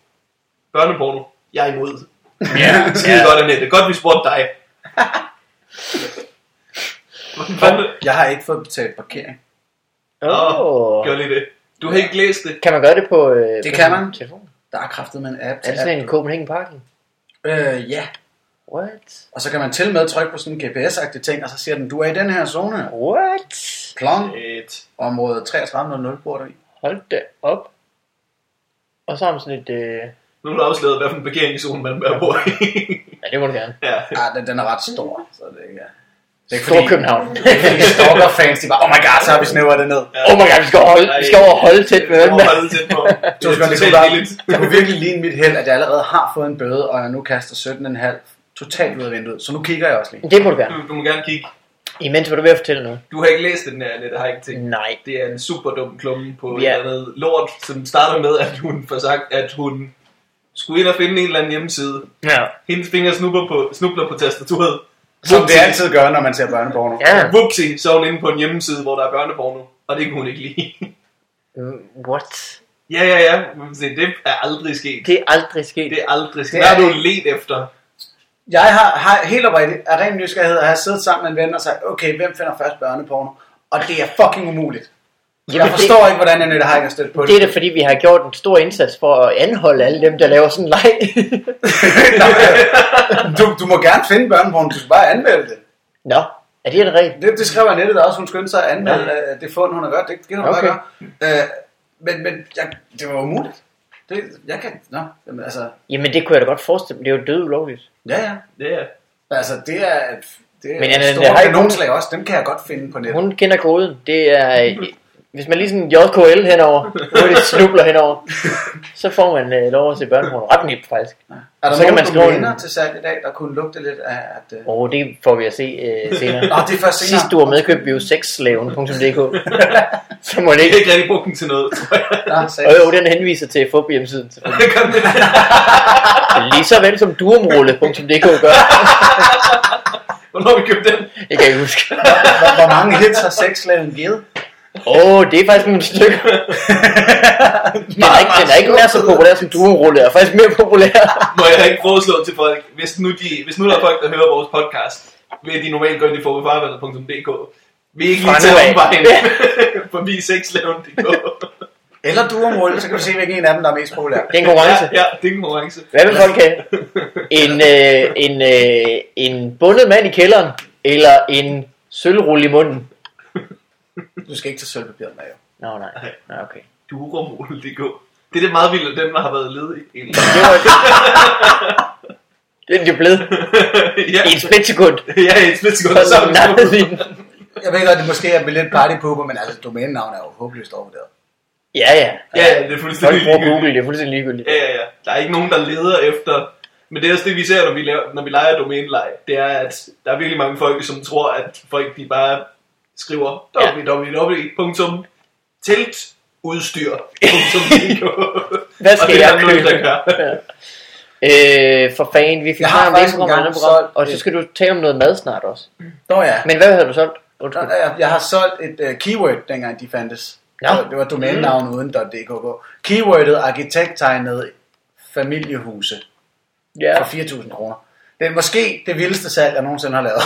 Speaker 1: Børneporno. Jeg er imod.
Speaker 4: Ja,
Speaker 1: Skide godt, Annette. Godt, vi spurgte dig. Hvordan fanden?
Speaker 2: Jeg har ikke fået betalt parkering.
Speaker 3: Åh.
Speaker 1: Gør lige det. Du har ikke læst det.
Speaker 3: Kan man gøre det på, øh,
Speaker 2: Det
Speaker 3: på
Speaker 2: kan
Speaker 3: sin
Speaker 2: man.
Speaker 3: telefon?
Speaker 2: Der er kraftet med en app.
Speaker 3: Er det sådan en Copenhagen Parking?
Speaker 2: Øh, ja.
Speaker 3: What?
Speaker 2: Og så kan man til med trykke på sådan en GPS-agtig ting, og så siger den, du er i den her zone. her.
Speaker 3: What?
Speaker 2: Plon,
Speaker 1: Et.
Speaker 2: område 3300 bor du i.
Speaker 3: Hold da op. Og så har man sådan et... Øh...
Speaker 1: Nu har du afsløret, hvad for en parkeringszone man bør bo i.
Speaker 3: Ja, det må du gerne.
Speaker 1: ja.
Speaker 2: Ah, den, den er ret stor, så det er ikke... Det er ikke
Speaker 3: Stor København.
Speaker 2: fordi stalker-fans, de bare, oh my god, så har vi snævret det ned.
Speaker 3: oh my god, vi skal holde, vi skal overholde tæt med
Speaker 1: Det
Speaker 3: øjnene.
Speaker 1: var holdet tæt på.
Speaker 2: Det, det, det,
Speaker 1: totalt
Speaker 2: kunne
Speaker 1: billigt.
Speaker 2: bare, det kunne virkelig ligne mit held, at jeg allerede har fået en bøde, og jeg nu kaster 17,5 totalt ud af vinduet. Så nu kigger jeg også lige.
Speaker 3: Det må du gerne.
Speaker 1: Du, du må gerne kigge.
Speaker 3: Imens var du ved at fortælle noget.
Speaker 1: Du har ikke læst den her, Annette Heiting.
Speaker 3: Nej.
Speaker 1: Det er en super dum klumme på
Speaker 3: Ja.
Speaker 1: yeah. et eller andet lort, som starter med, at hun får sagt, at hun skulle ind og finde en eller anden hjemmeside.
Speaker 3: Ja.
Speaker 1: Hendes fingre snubler på, snubler på tastaturet.
Speaker 2: Som det altid gør, når man ser børneporno.
Speaker 3: Ja.
Speaker 1: Whoopsie, så er hun inde på en hjemmeside, hvor der er børneporno. Og det kunne hun ikke lide.
Speaker 3: Mm, What?
Speaker 1: ja, ja, ja. Men se, Det er aldrig sket.
Speaker 3: Det er aldrig sket.
Speaker 1: Det er aldrig sket.
Speaker 2: Det
Speaker 1: Hvad
Speaker 2: er
Speaker 1: har du
Speaker 2: det.
Speaker 1: let efter?
Speaker 2: Jeg har, har helt oprigtigt af ren nysgerrighed, at jeg har siddet sammen med en ven og sagt, okay, hvem finder først børneporno? Og det er fucking umuligt.
Speaker 3: Jamen,
Speaker 2: Jeg forstår ikke, hvordan Annette Heick har stødt på det.
Speaker 3: Det er det, fordi vi har gjort en stor indsats for at anholde alle dem, der laver sådan en leg.
Speaker 2: du, du må gerne finde børneporno, du skal bare anmelde det.
Speaker 3: Nå, er det en regel?
Speaker 2: Det, det skrev Annette der også, hun skyndte sig at anmelde ja. det fund, hun har gjort. Det kan hun okay.
Speaker 3: Okay.
Speaker 2: bare gøre. Øh, men men jeg, det var umuligt. Det, jeg kan, nå, jamen, altså,
Speaker 3: Jamen, det kunne jeg da godt forestille mig. Det er jo død ulovligt.
Speaker 2: ja ja.
Speaker 1: Det er
Speaker 2: Altså, det er, det er
Speaker 3: Men
Speaker 2: men,
Speaker 3: Annette
Speaker 2: store
Speaker 3: Heick, hun-
Speaker 2: kanonslag også, dem kan jeg godt finde på nettet.
Speaker 3: Hun kender koden. Det er, øh, hvis man lige sådan JKL henover, hurtigt snubler henover, så får man øh, lov at se børneporno. Ret nemt faktisk.
Speaker 2: Er der
Speaker 3: så kan man
Speaker 2: nogen,
Speaker 3: skrive en-
Speaker 2: du mener til salg i dag, der kunne lugte lidt af, at... Øh,
Speaker 3: Og det får vi at se øh,
Speaker 2: Nå,
Speaker 3: senere.
Speaker 2: det er først Ah, senere.
Speaker 3: Sidst du var med, købte vi jo sexslaven.dk. så må det
Speaker 1: Jeg
Speaker 3: ikke.
Speaker 1: kan ikke rigtig bruge den til noget, tror jeg.
Speaker 2: Nå,
Speaker 3: Og
Speaker 2: sagde-
Speaker 3: jo, den henviser til fup hjemmesiden. selvfølgelig.
Speaker 1: Kom med det.
Speaker 3: Lige så vel som durumrulle.dk gør.
Speaker 1: Hvornår har vi købt den?
Speaker 3: Det kan jeg ikke huske.
Speaker 2: Hvor, hvor mange hits har sexslaven givet?
Speaker 3: Åh, oh, det er faktisk nogle stykker. Den er ikke, den er ikke nær så populær som durumrulle. Er faktisk mere populær.
Speaker 1: Må jeg ikke foreslå til folk, hvis nu, de, hvis nu der er folk, der hører vores podcast, vil de normalt gå ind i forbefarvandet.dk. Vi er ikke lige
Speaker 3: Fra
Speaker 1: til
Speaker 3: nu af.
Speaker 1: omvejen forbi sexlaven.dk.
Speaker 2: Eller du område, så kan du se, hvilken en af dem, der er mest populær.
Speaker 3: Det er en
Speaker 1: Ja,
Speaker 3: konkurrence.
Speaker 1: ja, det er en konkurrence.
Speaker 3: Hvad vil folk have? En, øh, en, øh, en bundet mand i kælderen, eller en sølvrulle i munden?
Speaker 2: Du skal ikke tage sølvpapiret med, jo.
Speaker 3: Nå, nej. Nå, okay.
Speaker 1: Duromol.dk. Det er det meget vildt, at dem, der har været ledige. egentlig.
Speaker 3: Det var det. Det er det blevet
Speaker 1: ja,
Speaker 3: i et splitsekund.
Speaker 1: ja, i et splitsekund.
Speaker 3: Så
Speaker 1: så er vi
Speaker 3: nappede vi
Speaker 1: skuffet.
Speaker 3: den.
Speaker 2: Jeg ved godt, det måske er lidt partypooper, men altså, domænenavn er jo håbløst overvurderet.
Speaker 3: Ja, ja.
Speaker 1: Ja, ja, det er
Speaker 3: Folk
Speaker 1: fuldstændig
Speaker 3: bruger
Speaker 1: ligegyldigt.
Speaker 3: Google, det er fuldstændig ligegyldigt.
Speaker 1: Ja, ja, ja. Der er ikke nogen, der leder efter... Men det er også det, vi ser, når vi, laver, når vi leger domæneleje. Det er, at der er virkelig mange folk, som tror, at folk de bare skriver
Speaker 3: Ja.
Speaker 1: www.teltudstyr.dk
Speaker 3: Hvad
Speaker 1: Og
Speaker 3: skal
Speaker 1: det er
Speaker 3: jeg
Speaker 1: der nogen,
Speaker 3: købe?
Speaker 1: der gør.
Speaker 3: Øh, for fanden, vi fik
Speaker 2: Jeg har
Speaker 3: snart
Speaker 2: faktisk
Speaker 3: væk om
Speaker 2: engang
Speaker 3: andet program.
Speaker 2: solgt
Speaker 3: Og så skal du tale om noget mad snart også.
Speaker 2: Nå ja.
Speaker 3: Men hvad havde du solgt? Undskyld.
Speaker 2: Nå, Jeg, jeg har solgt et uh, keyword, dengang de fandtes.
Speaker 3: Nå.
Speaker 2: Det var- Det var domænenavn mm. uden .dk. på. Keywordet arkitekttegnet familiehuse
Speaker 3: Ja.
Speaker 2: for 4.000 kroner. Det er måske det vildeste salg, jeg nogensinde har lavet.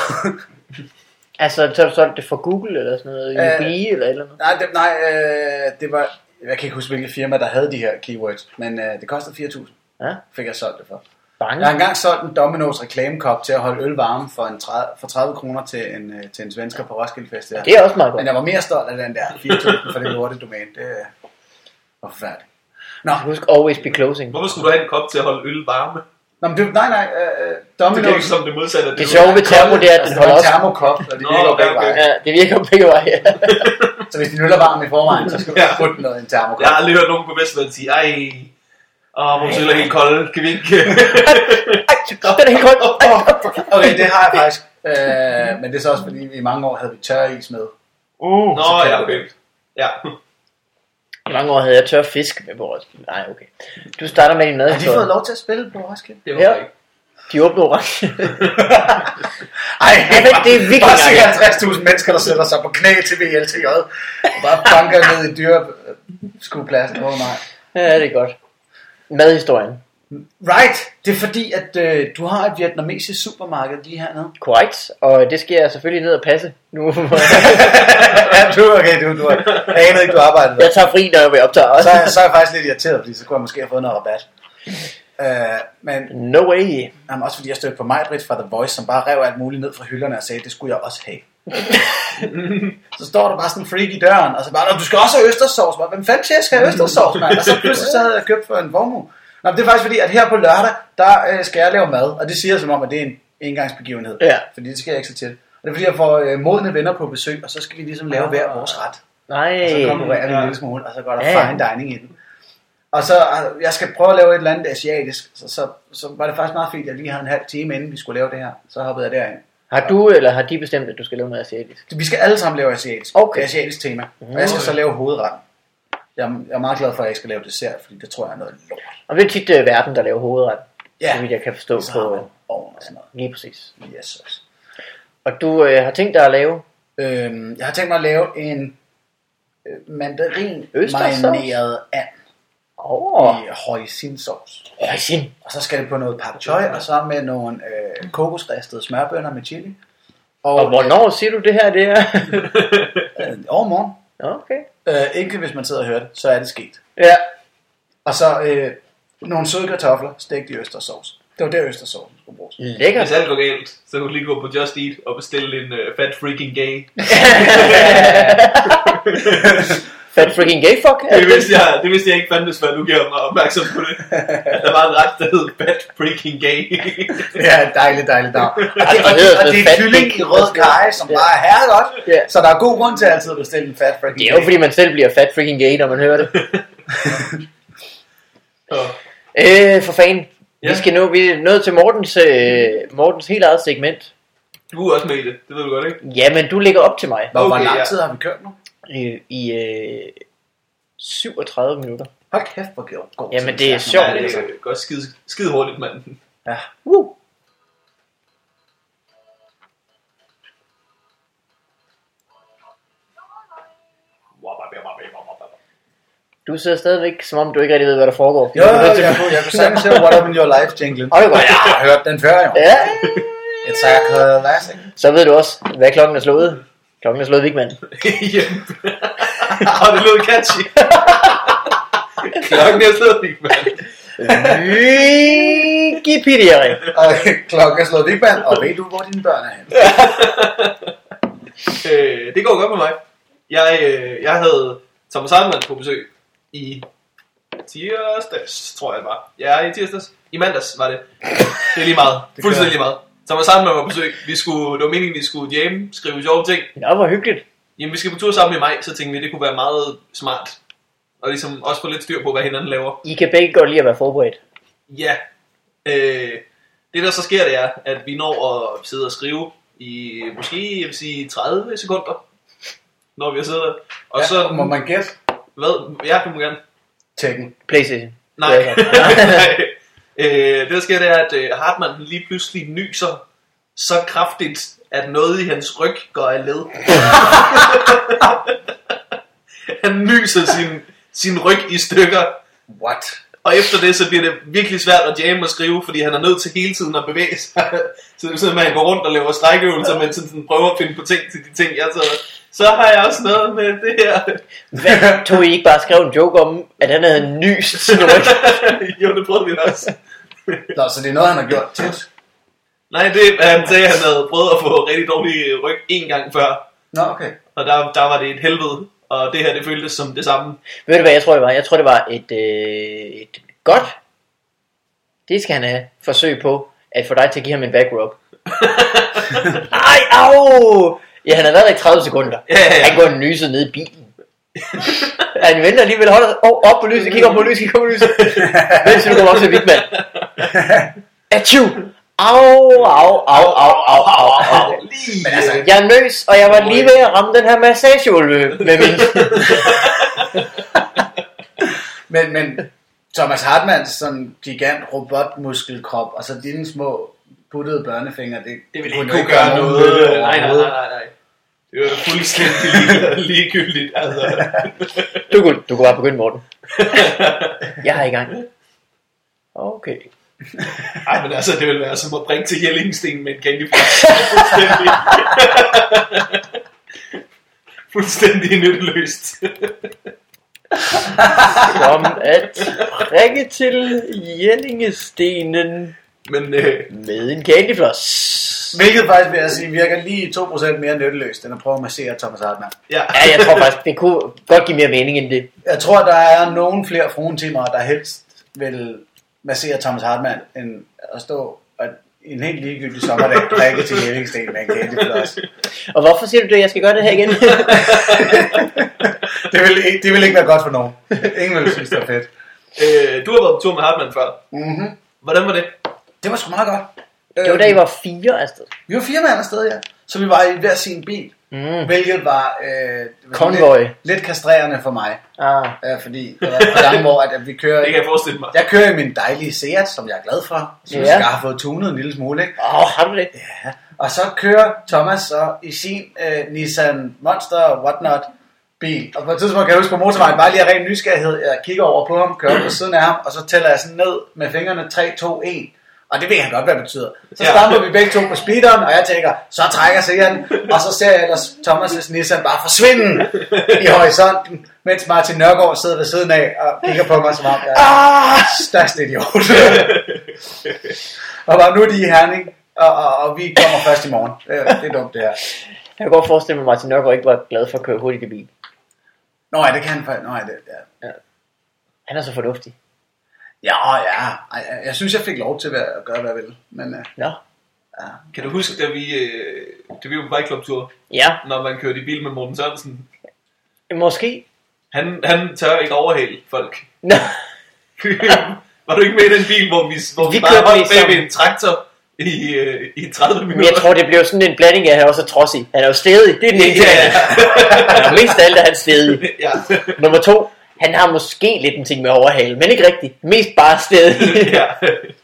Speaker 3: Altså, så har du solgt det for Google eller sådan noget,
Speaker 2: Øh,
Speaker 3: Jubilee eller et eller andet.
Speaker 2: Nej, det, nej øh, det var... Jeg kan ikke huske, hvilket firma, der havde de her keywords, men øh, det kostede 4.000,
Speaker 3: Ja,
Speaker 2: fik jeg solgt det for.
Speaker 3: bange.
Speaker 2: Jeg har engang solgt en Domino's reklamekop til at holde øl varme for, en 30, for 30 kroner til en, øh, til en svensker på Roskilde Festival.
Speaker 3: Det er også meget godt.
Speaker 2: Men jeg var mere stolt af den der 4.000 for det lorte domæne. Det øh, var forfærdeligt. Nå,
Speaker 3: Husk always be closing.
Speaker 1: Hvorfor skulle du have en kop til at holde øl varme?
Speaker 2: nå men det, nej, nej, øh, øh, Domino's...
Speaker 1: Det virker som det modsatte. af
Speaker 3: Det sjove ved termo, det er, at den
Speaker 2: Altså, det
Speaker 3: holder
Speaker 2: var en
Speaker 3: også.
Speaker 2: termokop, og det
Speaker 1: Nå,
Speaker 2: virker
Speaker 1: okay,
Speaker 2: begge
Speaker 1: okay.
Speaker 2: veje.
Speaker 3: Ja, det virker begge veje. ja.
Speaker 2: Så hvis din øl er varm i forvejen, så skal du
Speaker 1: Ja.
Speaker 2: putte noget i en termokop.
Speaker 1: Jeg har aldrig hørt nogen på Vestland sige, ej, åh, vores øl er helt kolde, kan vi ikke?
Speaker 3: Den er helt kold. Ej,
Speaker 2: Okay, det har jeg faktisk. Øh, men det er så også fordi, vi i mange år havde vi tør is med.
Speaker 3: Uh.
Speaker 1: Nå, ja, okay. Ja.
Speaker 3: I mange år havde jeg tør fisk med på Roskilde. Nej, okay. Du starter med din
Speaker 2: Har de fået
Speaker 3: madhistorie.
Speaker 2: lov til at spille på Roskilde?
Speaker 1: Det var
Speaker 3: Ja.
Speaker 1: ja. ikke.
Speaker 3: De åbner orange.
Speaker 2: Ej,
Speaker 3: det- det er virkelig
Speaker 2: Bare
Speaker 3: langt.
Speaker 2: cirka 50.000 mennesker, der sætter sig på knæ til VLTJ. Og bare banker ned i dyreskuepladsen. Åh oh, nej.
Speaker 3: ja, det er godt. Madhistorien.
Speaker 2: Right, det er fordi, at øh, du har et vietnamesisk supermarked lige hernede.
Speaker 3: Korrekt. Og det skal jeg selvfølgelig ned og passe nu.
Speaker 2: ja, du okay, du, du har anet ikke, du arbejdede der.
Speaker 3: jeg tager fri, når vi optager
Speaker 2: Så,
Speaker 3: også.
Speaker 2: er jeg- så er jeg faktisk lidt irriteret, fordi så kunne jeg måske have fået noget rabat. Øh, men
Speaker 3: No way.
Speaker 2: Jamen, også fordi jeg stødte på Majbrit fra The Voice, som bare rev alt muligt ned fra hylderne og sagde, det skulle jeg også have. så står der bare sådan en freak i døren, og så bare, "Nå, du skal også have østersovs, mand. Hvem fanden siger, jeg skal have østersovs, mand? Og så pludselig så havde jeg købt for en vormu. Nå, men det er faktisk fordi, at her på lørdag, der øh, skal jeg lave mad, og det siger jeg som om, at det er en engangsbegivenhed.
Speaker 3: Ja.
Speaker 2: Fordi det skal jeg ikke så til. Og det er fordi, jeg får øh, modne venner på besøg, og så skal vi ligesom lave hver vores ret.
Speaker 3: Nej.
Speaker 2: Og så konkurrerer vi en
Speaker 1: Ja.
Speaker 2: lille smule, og så går der
Speaker 3: Ja.
Speaker 2: fine dining i den. Og så, øh, jeg skal prøve at lave et eller andet asiatisk, så, så, så var det faktisk meget fint, at jeg lige havde en halv time, inden vi skulle lave det her. Så hoppede jeg derind.
Speaker 3: Har du eller har de bestemt, at du skal lave noget asiatisk?
Speaker 2: Vi skal alle sammen lave asiatisk.
Speaker 3: Okay.
Speaker 2: Det er asiatisk tema. Og jeg skal så lave hovedretten. Jeg, er- jeg er meget glad for, at jeg skal lave dessert, fordi det tror jeg er noget lort.
Speaker 3: Og det er tit uh, verden, der laver hovedret,
Speaker 2: Ja.
Speaker 3: så vidt jeg kan forstå
Speaker 2: Så har man
Speaker 3: på.
Speaker 2: ovn og sådan noget.
Speaker 3: Lige præcis.
Speaker 2: Yes. yes.
Speaker 3: Og du uh, har tænkt dig at lave
Speaker 2: Øhm, jeg har tænkt mig at lave en øh, mandarin
Speaker 3: Østerssovs?
Speaker 2: marineret and
Speaker 3: over
Speaker 2: i hoisintsovs.
Speaker 3: rejsen.
Speaker 2: Og så skal det på noget pak choi, og så med nogle øh, kokosristede smørbønner med chili. Og,
Speaker 3: Og hvornår siger du det her? Det er...
Speaker 2: Øh, øh, overmorgen.
Speaker 3: okay.
Speaker 2: Øh, ikke hvis man sidder og hører det, så er det sket.
Speaker 3: Ja.
Speaker 2: Og så øh, nogle søde kartofler, stegt i østersovs. Det var der østersovsen skulle bruges.
Speaker 3: Lækkert.
Speaker 1: Hvis alt går galt, så kan du lige gå på Just Eat og bestille en uh, fat freaking gay.
Speaker 3: Fat freaking gay fuck.
Speaker 1: Det vidste jeg, det vidste jeg ikke fandtes, før du gjorde mig opmærksom på det. At der var en ret, der hed fat freaking gay.
Speaker 2: Ja, dejligt, dejligt dag. Og det, og
Speaker 3: det
Speaker 2: det,
Speaker 3: hedder
Speaker 2: og
Speaker 3: sådan
Speaker 2: det er
Speaker 3: fat
Speaker 2: kylling
Speaker 3: dick.
Speaker 2: i rød kaj, som
Speaker 3: Ja.
Speaker 2: bare er herre godt.
Speaker 3: Ja.
Speaker 2: Så der er god grund til altid at bestille en fat freaking
Speaker 3: Det er jo
Speaker 2: dick.
Speaker 3: fordi, man selv bliver fat freaking gay, når man hører det.
Speaker 1: Så,
Speaker 3: Øh, for fanden. Ja. Vi
Speaker 1: Ja.
Speaker 3: skal nå, vi er nået til Mortens, øh, Mortens helt eget segment.
Speaker 1: du er også med i det, det ved du godt, ikke?
Speaker 3: Ja, men du ligger op til mig
Speaker 2: Hvor, hvor
Speaker 1: Okay,
Speaker 2: lang
Speaker 1: ja.
Speaker 2: tid har vi kørt nu?
Speaker 3: i, i øh, 37 minutter.
Speaker 2: Hold kæft, hvor god- god tid
Speaker 3: Jamen,
Speaker 2: vi
Speaker 3: det er
Speaker 2: snakker. altså.
Speaker 3: sjovt.
Speaker 1: Ja, det er godt skide, skide hurtigt, mand.
Speaker 2: Ja.
Speaker 3: Woo. Du sidder stadigvæk, som om du ikke rigtig ved, hvad der foregår.
Speaker 2: Jo, jo, jo, jeg, kunne, jeg kunne sagtens høre What Up In Your Life jinglen.
Speaker 3: Åh, det var-
Speaker 2: jeg har hørt den før, jo.
Speaker 3: Ja.
Speaker 2: It's a classic.
Speaker 3: Så ved du også, hvad klokken er slået. Klokken er slået, Vigman.
Speaker 1: Hjem. Og det lød catchy. Klokken er slået ikke, mand.
Speaker 3: Wikipedia.
Speaker 2: Og klokken er slået Vigman, og ved du, hvor dine børn er henne?
Speaker 1: øh, det går godt med mig. Jeg, øh, jeg havde Thomas Hartmann på besøg i tirsdags, tror jeg det var. Ja, i tirsdags. I mandags var det. Det er lige meget.
Speaker 2: Det
Speaker 1: Fuldstændig
Speaker 2: gør
Speaker 1: lige meget. Thomas Hartmann var på besøg. Vi skulle, det var meningen, vi skulle hjem, skrive sjove ting.
Speaker 3: Nå, hvor hyggeligt.
Speaker 1: Jamen, vi skal på tur sammen i maj, så tænkte vi, det kunne være meget smart. Og ligesom også få lidt styr på, hvad hinanden laver.
Speaker 3: I kan begge godt lide at være forberedt.
Speaker 1: Ja. Øh, det der så sker, det er, at vi når at sidde og skrive i måske jeg vil sige, 30 sekunder, når vi har siddet der. Og
Speaker 2: Og så
Speaker 1: så,
Speaker 2: må man gætte
Speaker 1: hvad, jeg kan gerne.
Speaker 2: Tekken.
Speaker 3: Playstation.
Speaker 1: Nej,
Speaker 3: Ja,
Speaker 1: nej. Øh, det der sker, det er, at øh, Hartmann han lige pludselig nyser så kraftigt, at noget i hans ryg går af led. han nyser sin, sin ryg i stykker,
Speaker 2: What?
Speaker 1: Og efter det, så bliver det virkelig svært at jamme og skrive, fordi han er nødt til hele tiden at bevæge sig. Så det er sådan, at man går rundt og laver strækøvelser, men sådan, sådan prøver at finde på ting til de ting, jeg så... Så har jeg også noget med det her.
Speaker 3: Hvad tog I ikke bare skrev en joke om, at han havde nyst sin ryg?
Speaker 1: jo, det prøvede vi også.
Speaker 2: Nå, så det er noget, han har gjort tit.
Speaker 1: Nej, det han sagde, han havde prøvet at få rigtig dårlig ryg en gang før.
Speaker 2: Nå, okay.
Speaker 1: Og der, der var det et helvede. Og det her, det føltes som det samme.
Speaker 3: Ved du hvad jeg tror det var? Jeg tror det var et, øh, et godt Det skal han have forsøg på At få dig til at give ham en back rub Ej au Ja han har været der i 30 sekunder
Speaker 1: Ja, ja, ja.
Speaker 3: Han går nyset ned i bilen Han venter alligevel holder oh, op på lyset Kigger op på lyset Kigger op på lyset Mens du kommer op til Vigman Atju Au au au au au au au
Speaker 1: Lige.
Speaker 2: Men altså,
Speaker 3: Jeg er nøs Og jeg var lige ved at ramme den her massageulve Med min
Speaker 2: Men, men Thomas Hartmanns sådan gigant robotmuskelkrop, og så dine små puttede børnefingre, det,
Speaker 1: Det ville
Speaker 2: kunne
Speaker 1: ikke
Speaker 2: jo
Speaker 1: kunne gøre
Speaker 2: nogen
Speaker 1: noget.
Speaker 2: nytte
Speaker 1: Nej, nej,
Speaker 2: overhovedet.
Speaker 1: nej, nej, nej. Det var fuldstændig lige, ligegyldigt, altså.
Speaker 3: Du kunne, du kunne bare begynde, Morten. Jeg er i gang. Okay.
Speaker 1: Ej, men altså, det ville være som at bringe til Jellingsten med en candy floss. Fuldstændig. fuldstændig nytteløst.
Speaker 3: Som at prikke til Jellingestenen
Speaker 1: Men øh,
Speaker 3: med en candyfloss.
Speaker 2: Hvilket faktisk vil jeg sige, virker lige 2% mere nytteløst, end at prøve at massere Thomas Hartmann.
Speaker 1: ja.
Speaker 3: Ja, jeg tror faktisk, det kunne godt give mere mening end det.
Speaker 2: Jeg tror, der er nogen flere fruentimer, der helst vil massere Thomas Hartmann, end at stå og en helt ligegyldig sommerdag drikke til Jellingsten med en candyfloss.
Speaker 3: Og hvorfor siger du det, jeg skal gøre det her igen?
Speaker 2: Det vil, ikke- det vil ikke være godt for nogen. Ingen vil synes, det er fedt.
Speaker 1: Øh, du har været på tur med Hartmann før.
Speaker 2: Mm-hmm.
Speaker 1: Hvordan var det?
Speaker 2: Det var sgu meget godt. Øhm,
Speaker 3: det var da I var fire afsted.
Speaker 2: Vi var fire mand afsted, ja. Så vi var i hver sin bil,
Speaker 3: Mm.
Speaker 2: hvilket var øh,
Speaker 3: Konvoj.
Speaker 2: lidt, lidt kastrerende for mig.
Speaker 3: Ah.
Speaker 2: Øh, fordi der var et gang, hvor at, at vi kører...
Speaker 1: Det kan jeg forestille mig.
Speaker 2: Jeg kører i min dejlige Seat, som jeg er glad for, som jeg
Speaker 3: Ja.
Speaker 2: skal have fået tunet en lille smule. Ikke?
Speaker 3: Åh, oh, har du det?
Speaker 2: Ja. Og så kører Thomas så i sin øh, Nissan Monster og whatnot bil. Og på et tidspunkt kan jeg huske på motorvejen, bare lige af ren nysgerrighed, jeg kigger over på ham, kører op på siden af ham, og så tæller jeg sådan ned med fingrene 3, 2, 1. Og det ved han godt, hvad det betyder. Så
Speaker 1: Ja.
Speaker 2: stamper vi begge to på speederen, og jeg tænker, så trækker Sean, og så ser jeg ellers Thomas' Nissan bare forsvinde i horisonten, mens Martin Nørgaard sidder ved siden af og kigger på mig som om, jeg
Speaker 3: Ah!
Speaker 2: største idiot. og bare nu er de i Herning, og, og, og vi kommer først i morgen. Det er, det er dumt, det her.
Speaker 3: Jeg kan godt forestille mig, at Martin Nørgaard ikke var glad for at køre hurtigt i bil.
Speaker 2: Nå, ja, det kan han for... Nå, ja, det, ja.
Speaker 3: Han er så fornuftig.
Speaker 2: Ja, ja. Ej, jeg- jeg synes, jeg fik lov til at, være- at gøre, hvad jeg ville. Men øh,
Speaker 3: Nå.
Speaker 1: Kan du huske, da vi, øh, da vi var på bikeklubtur,
Speaker 3: Ja,
Speaker 1: når man kørte i bil med Morten Sørensen?
Speaker 3: måske.
Speaker 1: Han, han tør ikke overhale folk.
Speaker 3: Nå.
Speaker 1: var du ikke med i den bil, hvor vi, hvor vi,
Speaker 3: Vi
Speaker 1: vi bare
Speaker 3: kørte
Speaker 1: holdt
Speaker 3: mest
Speaker 1: bag ved
Speaker 3: sammen.
Speaker 1: en traktor i, øh, i 30
Speaker 3: Men
Speaker 1: minutter?
Speaker 3: jeg tror, det blev sådan en blanding af, at han også er trodsig. Han er jo stedig. Det er den ene ting.
Speaker 1: Ja.
Speaker 3: Han er mest af alt er han stedig.
Speaker 1: ja.
Speaker 3: Nummer to, han har måske lidt en ting med overhale, men ikke rigtigt. Mest bare stedig.
Speaker 1: ja.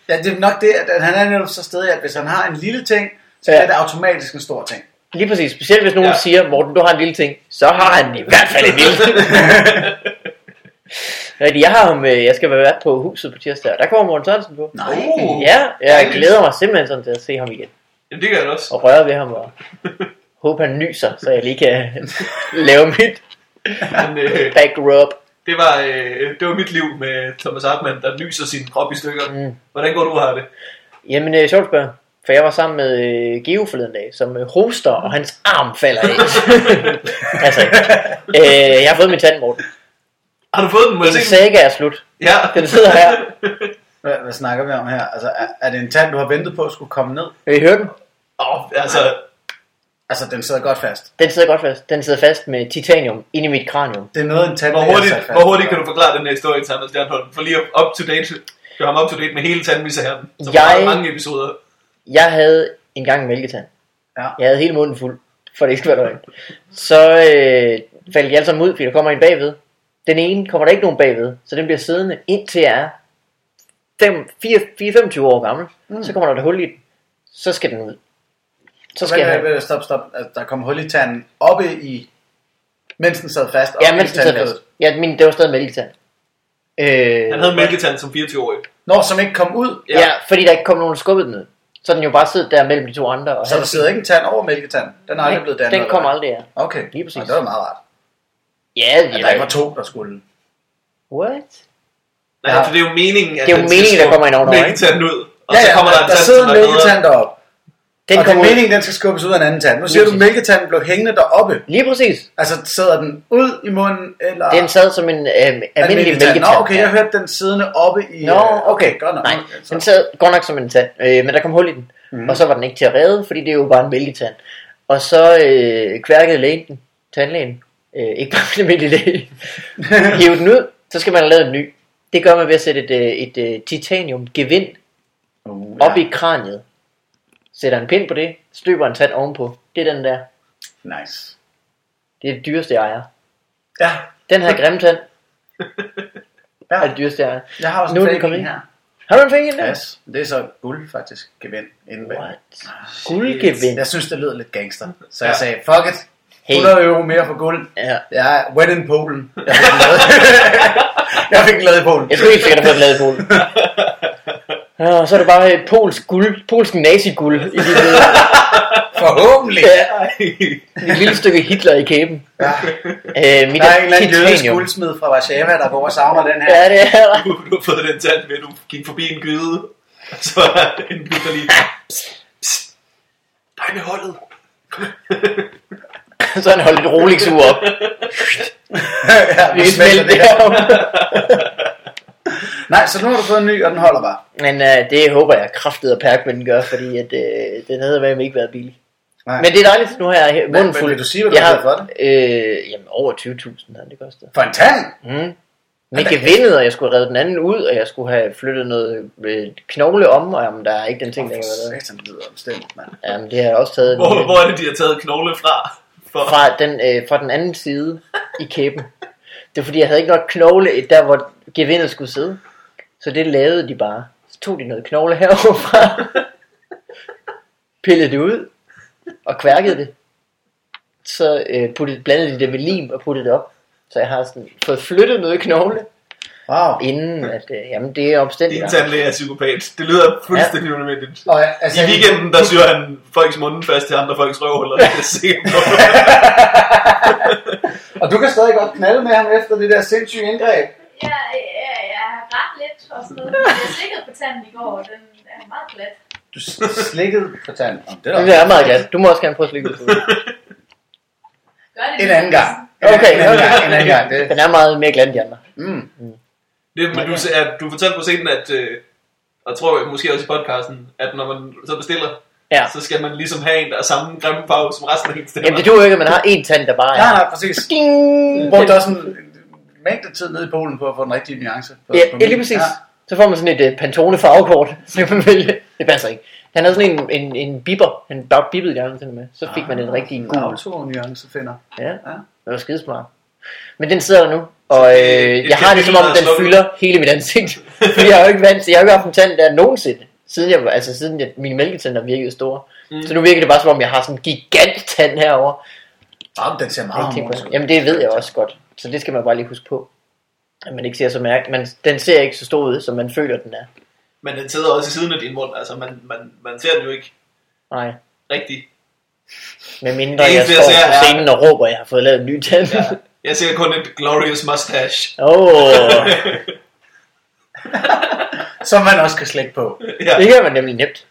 Speaker 2: ja, det er nok det, at han er netop så stedig, at hvis han har en lille ting, så
Speaker 3: Ja.
Speaker 2: er det automatisk en stor ting.
Speaker 3: Lige præcis. Specielt hvis nogen
Speaker 1: Ja.
Speaker 3: ja. siger, Morten, du har en lille ting, så har han i hvert fald en lille ting. Rigtig, jeg har ham, øh, jeg skal være vært på huset på tirsdag, og der kommer Morten Sørensen på.
Speaker 2: Nej.
Speaker 1: Uh.
Speaker 3: Ja, jeg
Speaker 1: Dejligt.
Speaker 3: glæder mig simpelthen sådan til at se ham igen.
Speaker 1: Jamen, det gør jeg også.
Speaker 3: Og røre ved ham, og håbe han nyser, så jeg lige kan lave mit
Speaker 1: Men, øh,
Speaker 3: back rub.
Speaker 1: det, var, øh, det var mit liv med Thomas Hartmann, der nyser sin krop i stykker.
Speaker 3: Mm.
Speaker 1: Hvordan går du og har det?
Speaker 3: Jamen, øh, sjovt spørg. For jeg var sammen med øh, Geo forleden dag, som øh, hoster, og hans arm falder af. altså, øh, jeg har fået min tand, Morten.
Speaker 1: Har du fået den? Må jeg
Speaker 3: Min
Speaker 1: se den?
Speaker 3: saga er slut.
Speaker 1: Ja.
Speaker 3: Den sidder her.
Speaker 2: Hvad, hvad snakker vi om her? Altså, er, er det en tand, du har ventet på, skulle komme ned?
Speaker 3: Vil I høre den?
Speaker 1: Åh, altså,
Speaker 2: Altså, den sidder godt fast.
Speaker 3: Den sidder godt fast. Den sidder fast med titanium inde i mit kranium.
Speaker 2: Det er noget, en tand,
Speaker 1: Hvor
Speaker 2: jeg har
Speaker 1: hurtigt,
Speaker 2: sat fast.
Speaker 1: hvor hurtigt kan du forklare den her historie til Anders Stjernholm? For lige up to date, du har ham up to date med hele tandmisæren, som jeg...
Speaker 3: Jeg-
Speaker 1: har mange episoder.
Speaker 3: Jeg havde engang en mælketand.
Speaker 2: Ja.
Speaker 3: Jeg havde hele munden fuld, for det ikke skal være løgn. Så øh, faldt de alle sammen ud, fordi der kommer en bagved. Den ene kommer der ikke nogen bagved, så den bliver siddende indtil jeg er 4-25 år gammel. Mm. Så kommer der et hul i den. Så skal den ud. Så skal jeg
Speaker 2: Vent,
Speaker 3: have
Speaker 2: vent, vent, stop, stop. Altså, der kom hul i tanden oppe i, mens den sad fast. oppe
Speaker 3: Ja,
Speaker 2: i
Speaker 3: men den sad
Speaker 2: tandkødet.
Speaker 3: fast. Ja, min, det var stadig mælketand. Øh,
Speaker 1: Han havde mælketand som 24-årig.
Speaker 2: Når som ikke kom ud,
Speaker 3: ja. ja, fordi der ikke kom nogen og skubbede den ned. Så den jo bare siddet der mellem de to andre. Og
Speaker 2: så der sidder ikke en tand over mælketanden. Den er aldrig blevet dannet.
Speaker 3: Den
Speaker 2: eller
Speaker 3: kom
Speaker 2: hvad?
Speaker 3: aldrig, ja.
Speaker 2: Okay,
Speaker 3: Lige præcis.
Speaker 2: Nå, det var meget rart.
Speaker 3: Ja,
Speaker 2: At
Speaker 3: det
Speaker 2: der ikke var
Speaker 3: er
Speaker 2: to, der skulle.
Speaker 3: What?
Speaker 1: Nej,
Speaker 2: Ja.
Speaker 1: for altså, det er jo meningen, at
Speaker 3: Det er jo
Speaker 1: den
Speaker 3: meningen,
Speaker 1: skal
Speaker 3: der kommer en ovenover, ikke?
Speaker 1: mælketanden ud. Og så kommer der en
Speaker 2: der
Speaker 1: tand,
Speaker 2: sidder
Speaker 1: som
Speaker 2: en
Speaker 1: er bedre.
Speaker 2: mælketand deroppe.
Speaker 3: Den
Speaker 2: og det er
Speaker 3: kom ud.
Speaker 2: meningen, den skal skubbes ud af en anden tand. Nu siger du,
Speaker 3: Lige
Speaker 2: at
Speaker 3: præcis.
Speaker 2: mælketanden blev hængende deroppe.
Speaker 3: Lige præcis.
Speaker 2: Altså, sidder den ud i munden, eller...
Speaker 3: Den sad som en øh, almindelig mælketand.
Speaker 2: Nå, okay, jeg hørte den siddende oppe i...
Speaker 3: Nå,
Speaker 2: øh,
Speaker 3: okay,
Speaker 2: godt nok.
Speaker 3: Nej,
Speaker 2: Okay, så.
Speaker 3: den sad godt nok som en tand, øh, men der kom hul i den.
Speaker 2: Mhm.
Speaker 3: Mm. Og så var den ikke til at redde, fordi det er jo bare en mælketand. Og så øh, kværkede lægen den, tandlægen, øh, ikke bare en almindelig læge, hive den ud, så skal man have lavet en ny. Det gør man ved at sætte et, øh, et, et titaniumgevind
Speaker 2: Uh,
Speaker 3: op i kraniet. Sætter en pind på det, støber en tand ovenpå. Det er den der.
Speaker 2: Nice.
Speaker 3: Det er det dyreste jeg ejer.
Speaker 2: Ja,
Speaker 3: Den her grimme tand
Speaker 2: ja.
Speaker 3: er det dyreste jeg ejer.
Speaker 2: Jeg har også
Speaker 3: Nu er
Speaker 2: en
Speaker 3: den
Speaker 2: fake
Speaker 3: kommet
Speaker 2: en
Speaker 3: ind.
Speaker 2: her.
Speaker 3: Har du en finger der?
Speaker 2: Yes. Det er så guld, faktisk, gevind inde bag.
Speaker 3: What? Guldgevind.
Speaker 2: Jeg synes, det lød lidt gangster. Så jeg
Speaker 1: Ja.
Speaker 2: sagde, fuck it.
Speaker 3: Hey.
Speaker 2: 100 euro mere for guld.
Speaker 3: Ja.
Speaker 2: Jeg er wet in Polen. Jeg fik den lavet. jeg fik den lavet i Polen.
Speaker 3: Jeg skulle helt sikkert have fået den lavet i Polen. Ja, og så er det bare øh, polsk guld, polsk naziguld i dit, øh,
Speaker 2: Forhåbentlig.
Speaker 3: ja,
Speaker 1: Ej.
Speaker 3: et lille stykke Hitler i kæben.
Speaker 2: Ja.
Speaker 3: Øh, mit
Speaker 2: Der er en eller anden jødisk
Speaker 3: titanium.
Speaker 2: guldsmed fra Warszawa, der går og savner den her.
Speaker 3: Ja, det er der.
Speaker 1: du, du har fået den tand med, at du gik forbi en gyde, og så er der en gyde, der lige... Psst, psst, dig med holdet. Kom her.
Speaker 3: Så han holdt et rolex ur op.
Speaker 2: ja,
Speaker 3: Vi
Speaker 2: vi smelter
Speaker 3: smelte
Speaker 2: det
Speaker 3: det
Speaker 2: her.
Speaker 3: op.
Speaker 2: Nej, så nu har du fået en ny, og den holder bare.
Speaker 3: Men øh, det håber jeg kraftet at Perkman den gør, fordi at, øh, den havde været ikke været billig.
Speaker 2: Nej.
Speaker 3: Men det er dejligt, nu har jeg her- munden
Speaker 2: men
Speaker 3: fuld.
Speaker 2: vil du sige, hvad du
Speaker 3: Jeg
Speaker 2: har fået for
Speaker 3: Øh, jamen, over 20.000 har det kostet.
Speaker 2: For en tand?
Speaker 3: Mm. Men
Speaker 2: altså-
Speaker 3: gevindet, og jeg skulle have reddet den anden ud, og jeg skulle have flyttet noget øh, knogle om, og jamen, der er ikke den ting, der kan være lavet.
Speaker 2: Satan, det lyder omstændigt, mand.
Speaker 3: Jamen, det har jeg også taget en,
Speaker 1: Hvor, hvor er det, de har taget knogle fra? For,
Speaker 3: fra, den, øh, fra den anden side i kæben. Det er fordi, jeg havde ikke nok knogle et der, hvor gevindet skulle sidde. Så det lavede de bare. Så tog de noget knogle heroverfra, pillede det ud og kværkede det. Så øh, puttede, blandede de det med lim og puttede det op. Så jeg har sådan fået flyttet noget knogle,
Speaker 2: Wow.
Speaker 3: inden at, øh, jamen det er omstændigt.
Speaker 1: din tandlæge er psykopat. Det lyder fuldstændig ja. unødvendigt.
Speaker 2: Og, altså,
Speaker 1: I weekenden, der syr han folks munden fast til andre folks røvhuller. Det er jeg sikker på.
Speaker 2: og du kan stadig godt knalde med ham efter det der sindssyge indgreb.
Speaker 4: Ja, ja, jeg har ret lidt og sådan noget. Jeg slikkede på tanden i går, og den er meget glat.
Speaker 2: Du s- slikkede på tanden. Nå, Det er da-
Speaker 3: Det er meget glat. Du må også gerne prøve at slikke lidt på den.
Speaker 4: Gør det
Speaker 2: En
Speaker 4: lige.
Speaker 2: anden gang. En,
Speaker 3: Okay,
Speaker 2: en anden
Speaker 3: okay.
Speaker 2: gang. En anden gang. Det,
Speaker 3: Den er meget mere glat end de andre.
Speaker 2: mm.
Speaker 1: Det, men du, at du fortalte på scenen, at, øh, og tror jeg måske også i podcasten, at når man så bestiller,
Speaker 3: Ja.
Speaker 1: så skal man ligesom have en, der er samme grimme farve som resten af ens tænder.
Speaker 3: Jamen det duer jo ikke, at man har en tand, der bare er...
Speaker 2: Nej, nej, præcis.
Speaker 3: Ding!
Speaker 2: Du brugte også en mængde tid nede i Polen på at få den rigtige nuance. På,
Speaker 3: Ja,
Speaker 2: på
Speaker 3: ja,
Speaker 2: min.
Speaker 3: lige præcis. Så får man sådan et uh, Pantone farvekort, så kan man vælge. Det passer ikke. Han havde sådan en, en, en bipper, han bare bippede hjernen til med. Så fik man den rigtige
Speaker 2: En
Speaker 3: gul.
Speaker 2: auto-nuance finder.
Speaker 3: Ja,
Speaker 2: Ja.
Speaker 3: det var skidesmart. Men den sidder der nu, og
Speaker 1: det er et
Speaker 3: øh, jeg har det som om,
Speaker 1: kæmpe
Speaker 3: den
Speaker 1: billede af
Speaker 3: fylder hele mit ansigt. Fordi jeg har jo ikke vant til, jeg har jo ikke haft en tand der nogensinde. Siden, jeg, var- altså, siden jeg, mine mælketænder virkede store.
Speaker 1: Mm.
Speaker 3: Så nu virker det bare som om, jeg har sådan en gigant tand herovre.
Speaker 2: Oh, den ser meget
Speaker 3: Jeg tænker på
Speaker 2: harmonisk
Speaker 3: det.
Speaker 2: ud.
Speaker 3: Jamen det ved jeg også godt, så det skal man bare lige huske på. At man ikke ser så mærke. Man, den ser ikke så stor ud, som man føler, den er.
Speaker 1: Men den sidder også i siden af din mund. Altså, man, man, man ser den jo ikke
Speaker 3: Nej,
Speaker 1: rigtigt.
Speaker 3: med mindre
Speaker 1: Det
Speaker 3: jeg
Speaker 1: eneste, jeg
Speaker 3: står
Speaker 1: ser,
Speaker 3: på
Speaker 1: er-
Speaker 3: scenen og råber, at jeg har fået lavet en ny tand.
Speaker 1: Ja. Jeg ser kun et glorious mustache.
Speaker 3: Åh, oh,
Speaker 2: Som man også kan slække på.
Speaker 1: ja.
Speaker 3: det kan man nemlig nemt.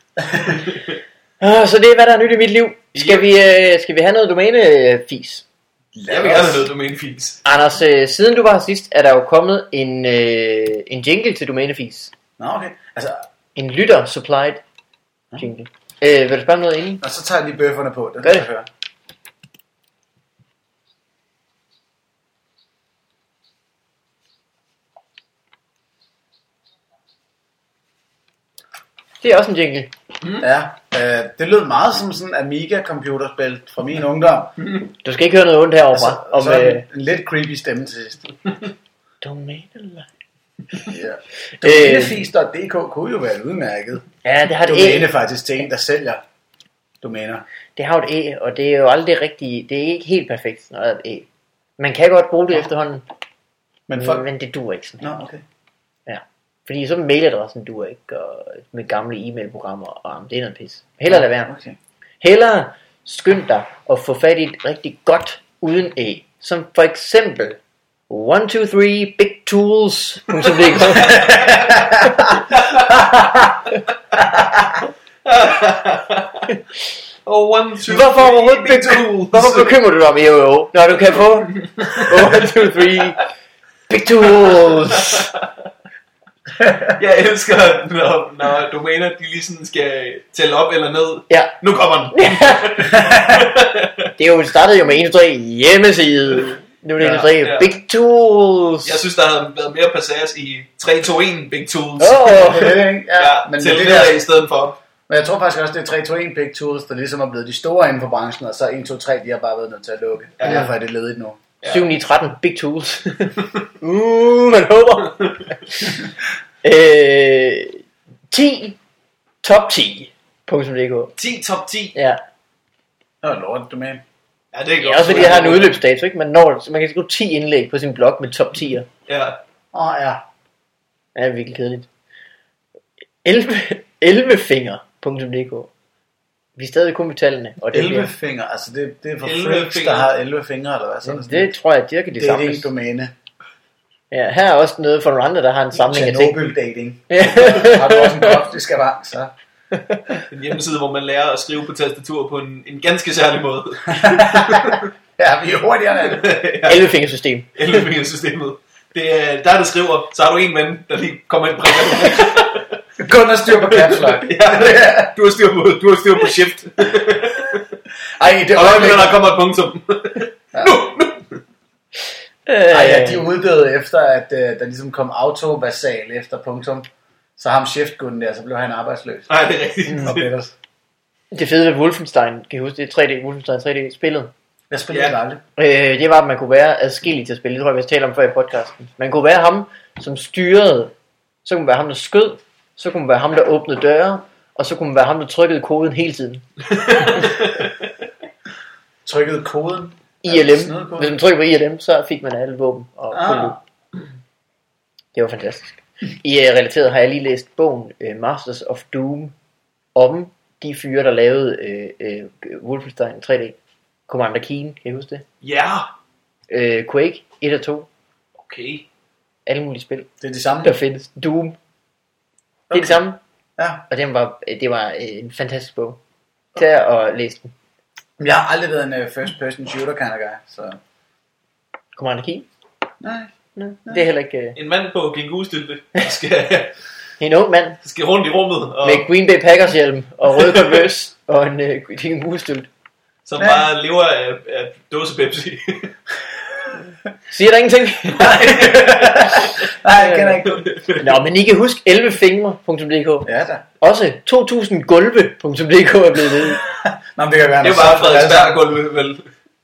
Speaker 3: Ah, så det er, hvad der er nyt i mit liv. Skal vi, øh, skal vi have noget domænefis?
Speaker 1: Jeg vil gerne have noget domænefis.
Speaker 3: Anders, øh, siden du var her sidst, er der jo kommet en, øh, en jingle til domænefis.
Speaker 2: Nå, okay. Altså,
Speaker 3: En lytter-supplied jingle. Øh, vil du spørge om noget inden?
Speaker 2: og så tager jeg lige bøfferne på. Det
Speaker 3: Gør
Speaker 2: skal
Speaker 3: det.
Speaker 2: jeg høre.
Speaker 3: Det er også en jingle.
Speaker 2: Ja, øh, det lød meget som sådan en Amiga-computerspil fra min ungdom.
Speaker 3: Du skal ikke høre noget ondt herovre.
Speaker 2: Altså,
Speaker 3: Altså,
Speaker 2: og
Speaker 3: om,
Speaker 2: så en,
Speaker 3: øh,
Speaker 2: en lidt creepy stemme til sidst.
Speaker 3: domænelejr.
Speaker 2: Ja.
Speaker 3: Øh.
Speaker 2: Domænefis.dk kunne jo være et udmærket
Speaker 3: Ja, det har et
Speaker 2: domæne
Speaker 3: æ.
Speaker 2: faktisk til en, der sælger domæner.
Speaker 3: Det har jo et æ, og det er jo aldrig rigtigt. Det er ikke helt perfekt, når der er et æ. Man kan godt bruge det efterhånden,
Speaker 2: Men
Speaker 3: Øh, men,
Speaker 2: folk...
Speaker 3: men det dur ikke sådan.
Speaker 2: Nå, okay.
Speaker 3: Fordi så mailadressen du ikke, og med gamle e-mailprogrammer, og jamen, det er noget pis. Hellere lad være.
Speaker 2: Okay.
Speaker 3: Hellere skynd dig at få fat i et rigtig godt uden æ. Som for eksempel 123bigtools.dk
Speaker 1: Og one, two,
Speaker 3: Hvorfor overhovedet
Speaker 1: three, tools.
Speaker 3: Hvorfor bekymrer du dig om E EOO, når du kan få 123bigtools?
Speaker 1: Jeg elsker, når, når domæner, de lige sådan skal tælle op eller ned.
Speaker 3: Ja,
Speaker 1: Nu kommer den.
Speaker 3: det er jo startede jo med industri hjemmeside. Nu er det
Speaker 2: Ja,
Speaker 3: industri
Speaker 1: ja.
Speaker 3: big tools.
Speaker 1: Jeg synes, der havde været mere passage i 3-2-1 Big Tools.
Speaker 3: Åh.
Speaker 2: Det er det, ikke? Ja,
Speaker 1: Ja,
Speaker 2: men,
Speaker 1: til
Speaker 2: det
Speaker 1: det
Speaker 2: der,
Speaker 1: der i stedet for.
Speaker 2: men jeg tror faktisk også, det er 3-2-1 Big Tools, der ligesom er blevet de store inden for branchen, og så 1-2-3, de har bare været nødt til at lukke. Ja.
Speaker 1: Ja.
Speaker 2: Derfor er det ledigt nu.
Speaker 1: Ja.
Speaker 3: 7 9 13 Big Tools. uh, man håber. øh, 10 top 10. .dk.
Speaker 1: 10 top 10.
Speaker 3: Ja.
Speaker 2: Nå, lort, du med.
Speaker 1: Ja, det er
Speaker 3: Det er også fordi, jeg har en udløbsdato, ikke? Man, når, så man kan skrive 10 indlæg på sin blog med top 10'er.
Speaker 1: Ja.
Speaker 2: Åh, ja.
Speaker 3: Ja, det er virkelig kedeligt. 11, 11finger.dk Vi er stadig kun ved tallene. Og det,
Speaker 2: 11
Speaker 3: 11.
Speaker 2: fingre, altså det, det er for
Speaker 1: 11
Speaker 2: freaks, der
Speaker 1: fingre.
Speaker 2: har 11 fingre, eller hvad? Sådan
Speaker 3: Det, det tror jeg, det kan de
Speaker 2: det er det
Speaker 3: samles.
Speaker 2: domæne.
Speaker 3: Ja, her er også noget for nogle andre, der har en samling af ting.
Speaker 2: Tjernobyl dating.
Speaker 3: Ja.
Speaker 2: Har du også en kropslig skavank, så?
Speaker 1: En hjemmeside, hvor man lærer at skrive på tastatur på en, en ganske særlig måde.
Speaker 2: Ja, vi er hurtigere end det.
Speaker 1: ja,
Speaker 3: 11-fingersystem.
Speaker 1: 11 systemet. Det er der, der skriver, så har du en ven, der lige kommer ind og prikker dig.
Speaker 2: Kun at styr på caps lock.
Speaker 1: ja, du har styr på, du har styr på shift.
Speaker 2: Ej, det
Speaker 1: Og øjeblik,
Speaker 2: øjeblik.
Speaker 1: der kommer et punktum. nu, nu.
Speaker 2: Ej,
Speaker 3: Øh,
Speaker 2: ja, de uddøde efter, at øh, der ligesom kom autobasal efter punktum. Så ham chefgunden der, så blev han arbejdsløs.
Speaker 1: Nej, det er rigtigt.
Speaker 2: Og Peters.
Speaker 3: Det fede ved Wolfenstein, kan I huske det? 3D, Wolfenstein 3D-spillet.
Speaker 2: Jeg spillede
Speaker 1: Ja.
Speaker 2: ja. aldrig.
Speaker 3: Øh, det var, at man kunne være adskillig til at spille. Det tror jeg, vi har talt om før i podcasten. Man kunne være ham, som styrede. Så kunne man være ham, der skød. Så kunne man være ham, der åbnede døre. Og så kunne man være ham, der trykkede koden hele tiden.
Speaker 2: Trykkede koden.
Speaker 3: ILM.
Speaker 2: snydekoden?
Speaker 3: Hvis man trykker på ILM, så fik man alle våben og
Speaker 2: Ah.
Speaker 3: ah. Det var fantastisk. I øh, relateret har jeg lige læst bogen øh, Masters of Doom om de fyre, der lavede øh, øh, Wolfenstein 3D. Commander Keen, kan I huske det?
Speaker 1: Ja,
Speaker 3: Øh, Quake 1 og 2.
Speaker 1: okay.
Speaker 3: Alle mulige spil.
Speaker 2: Det er de samme.
Speaker 3: der findes. Doom. Det er
Speaker 2: Okay.
Speaker 3: det samme.
Speaker 2: Ja.
Speaker 3: Og den var, øh, det var en fantastisk bog. Tag og læs den.
Speaker 2: Jeg har aldrig været en øh, first person shooter kind of guy, så...
Speaker 3: Commander Keen.
Speaker 2: Nej.
Speaker 3: Det er heller ikke uh,
Speaker 1: En mand på kængurestylpe skal,
Speaker 3: en ung mand
Speaker 1: skal rundt i rummet, og,
Speaker 3: med Green Bay Packers hjelm og rød konvers og en, uh, en musstylt.
Speaker 1: som bare lever af, af dåse Pepsi.
Speaker 3: Siger der ingenting?
Speaker 2: Nej, jeg kender ikke.
Speaker 3: Nå, men I kan huske 11fingre.dk.
Speaker 2: Ja da.
Speaker 3: Også 2000gulve.dk er blevet ledet.
Speaker 2: Nå, men det kan være,
Speaker 1: det var bare
Speaker 2: han har solgt
Speaker 1: Frederiksberg
Speaker 2: alle
Speaker 1: gulvet, vel?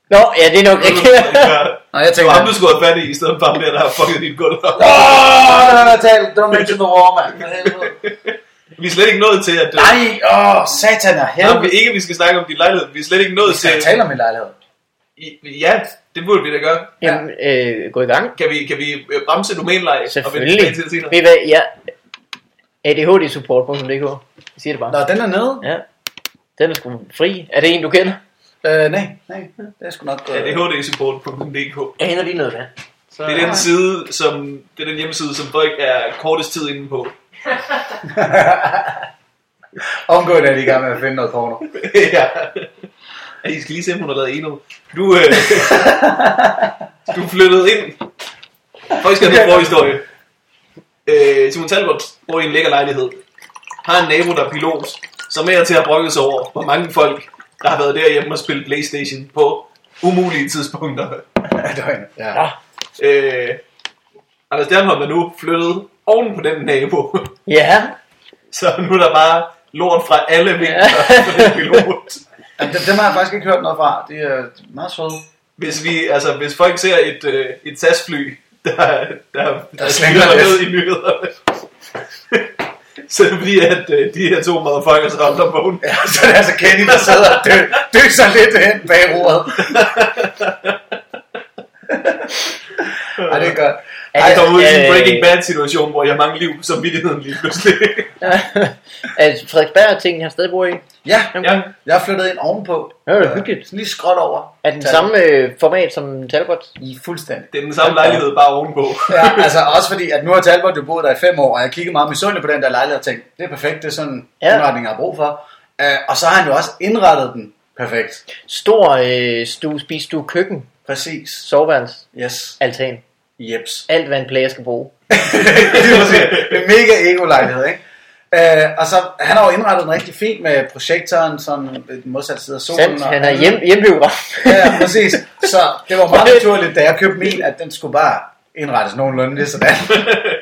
Speaker 3: Nå, ja, det er nok rigtigt.
Speaker 2: sammen. Nå, jeg
Speaker 1: Det
Speaker 2: tænker...
Speaker 1: var ham, du skulle have fat i, i stedet for ham der, der har fucket dit gulv op.
Speaker 2: Åh, der er talt. Det var med til the war, mand. For helvede.
Speaker 1: Vi er slet ikke nået til, at... øh,
Speaker 2: Nej, åh, satan og
Speaker 1: Nå, vi
Speaker 2: helvede.
Speaker 1: ikke, vi skal snakke om din lejlighed. Vi er slet ikke nået
Speaker 2: Vi
Speaker 1: til...
Speaker 2: skal tale om min lejlighed.
Speaker 1: I- Ja, det burde vi da gøre.
Speaker 3: Jamen, øh, gå i gang.
Speaker 1: Kan vi, kan vi øh, bremse domænleje?
Speaker 3: Selvfølgelig.
Speaker 1: Og vende tilbage til det senere?
Speaker 3: Ved I hvad? Ja. ADHDsupport.dk. Jeg siger det bare.
Speaker 2: Nå, den er nede.
Speaker 3: Ja. Den er sgu fri. Er det en, du kender?
Speaker 2: Øh, nej, nej. Det er sgu nok...
Speaker 1: Ja,
Speaker 2: Øh,
Speaker 1: det er hd-support.dk.
Speaker 3: Jeg henter lige noget vand.
Speaker 1: Det er den side, som... Det er den hjemmeside, som folk er kortest tid inde på.
Speaker 2: Omgående er de i gang med at finde noget porno.
Speaker 1: ja. Ja, I skal lige se, om hun har lavet endnu. Du, øh, du er flyttet ind. Folk skal have en forhistorie. Øh, Simon Talbot bor i en lækker lejlighed. Har en nabo, der er pilot, som er til at brokke sig over, hvor mange folk, der har været derhjemme og spillet Playstation på umulige tidspunkter.
Speaker 2: Ja, det var en- ja.
Speaker 1: Øh, Anders Stjernholm er nu flyttet oven på den nabo.
Speaker 3: Ja.
Speaker 1: Så nu er der bare lort fra alle vinkler på den pilot.
Speaker 2: Jamen, Dem, dem har jeg faktisk ikke hørt noget fra. De er meget søde.
Speaker 1: Hvis, vi, altså, hvis folk ser et, øh, et SAS-fly, der, der, der, der
Speaker 2: slinker
Speaker 1: slinker
Speaker 2: lidt.
Speaker 1: ned i nyhederne, så er det fordi, at øh, de her to motherfuckers er under vågen.
Speaker 2: Ja, så er det altså Kenny, der sidder og dø, døser lidt hen bag roret. Ej, det er godt.
Speaker 3: Er
Speaker 1: Jeg kommer ud i sådan en
Speaker 3: øh,
Speaker 1: Breaking Bad-situation, hvor jeg mangler liv som vidtigheden lige pludselig.
Speaker 3: altså, Frederiksberg tingen, han stadig bor i.
Speaker 2: Ja,
Speaker 1: ja.
Speaker 2: jeg er flyttet ind ovenpå. Øh,
Speaker 3: Det var da hyggeligt.
Speaker 2: Sådan lige skråt over.
Speaker 3: Er den
Speaker 2: Tal-
Speaker 3: samme øh, format som Talbot?
Speaker 2: I fuldstændig.
Speaker 1: Det er den samme lejlighed, bare ovenpå.
Speaker 2: Ja, altså også fordi, at nu har Talbot jo boet der i fem år, og jeg kiggede meget misundelig på den der lejlighed og tænkte, det er perfekt, det er sådan
Speaker 3: Ja.
Speaker 2: ja. indretning, jeg har brug for. Øh, og så har han jo også indrettet den perfekt.
Speaker 3: Stor øh, stue, spisstue, køkken,
Speaker 2: Præcis.
Speaker 3: soveværelse,
Speaker 2: Yes.
Speaker 3: altan.
Speaker 2: Jeps.
Speaker 3: Alt, hvad en player skal bruge.
Speaker 2: Lige præcis. det er mega ego-lejlighed, ikke? Øh, og så, han har jo indrettet den rigtig fint med projektoren, sådan øh, den modsatte side af solen.
Speaker 3: Sandt,
Speaker 2: og
Speaker 3: han er
Speaker 2: alt.
Speaker 3: hjem, hjembiograf.
Speaker 2: Ja, ja, præcis. Så det var meget naturligt, da jeg købte min, at den skulle bare indrettes nogenlunde lige sådan.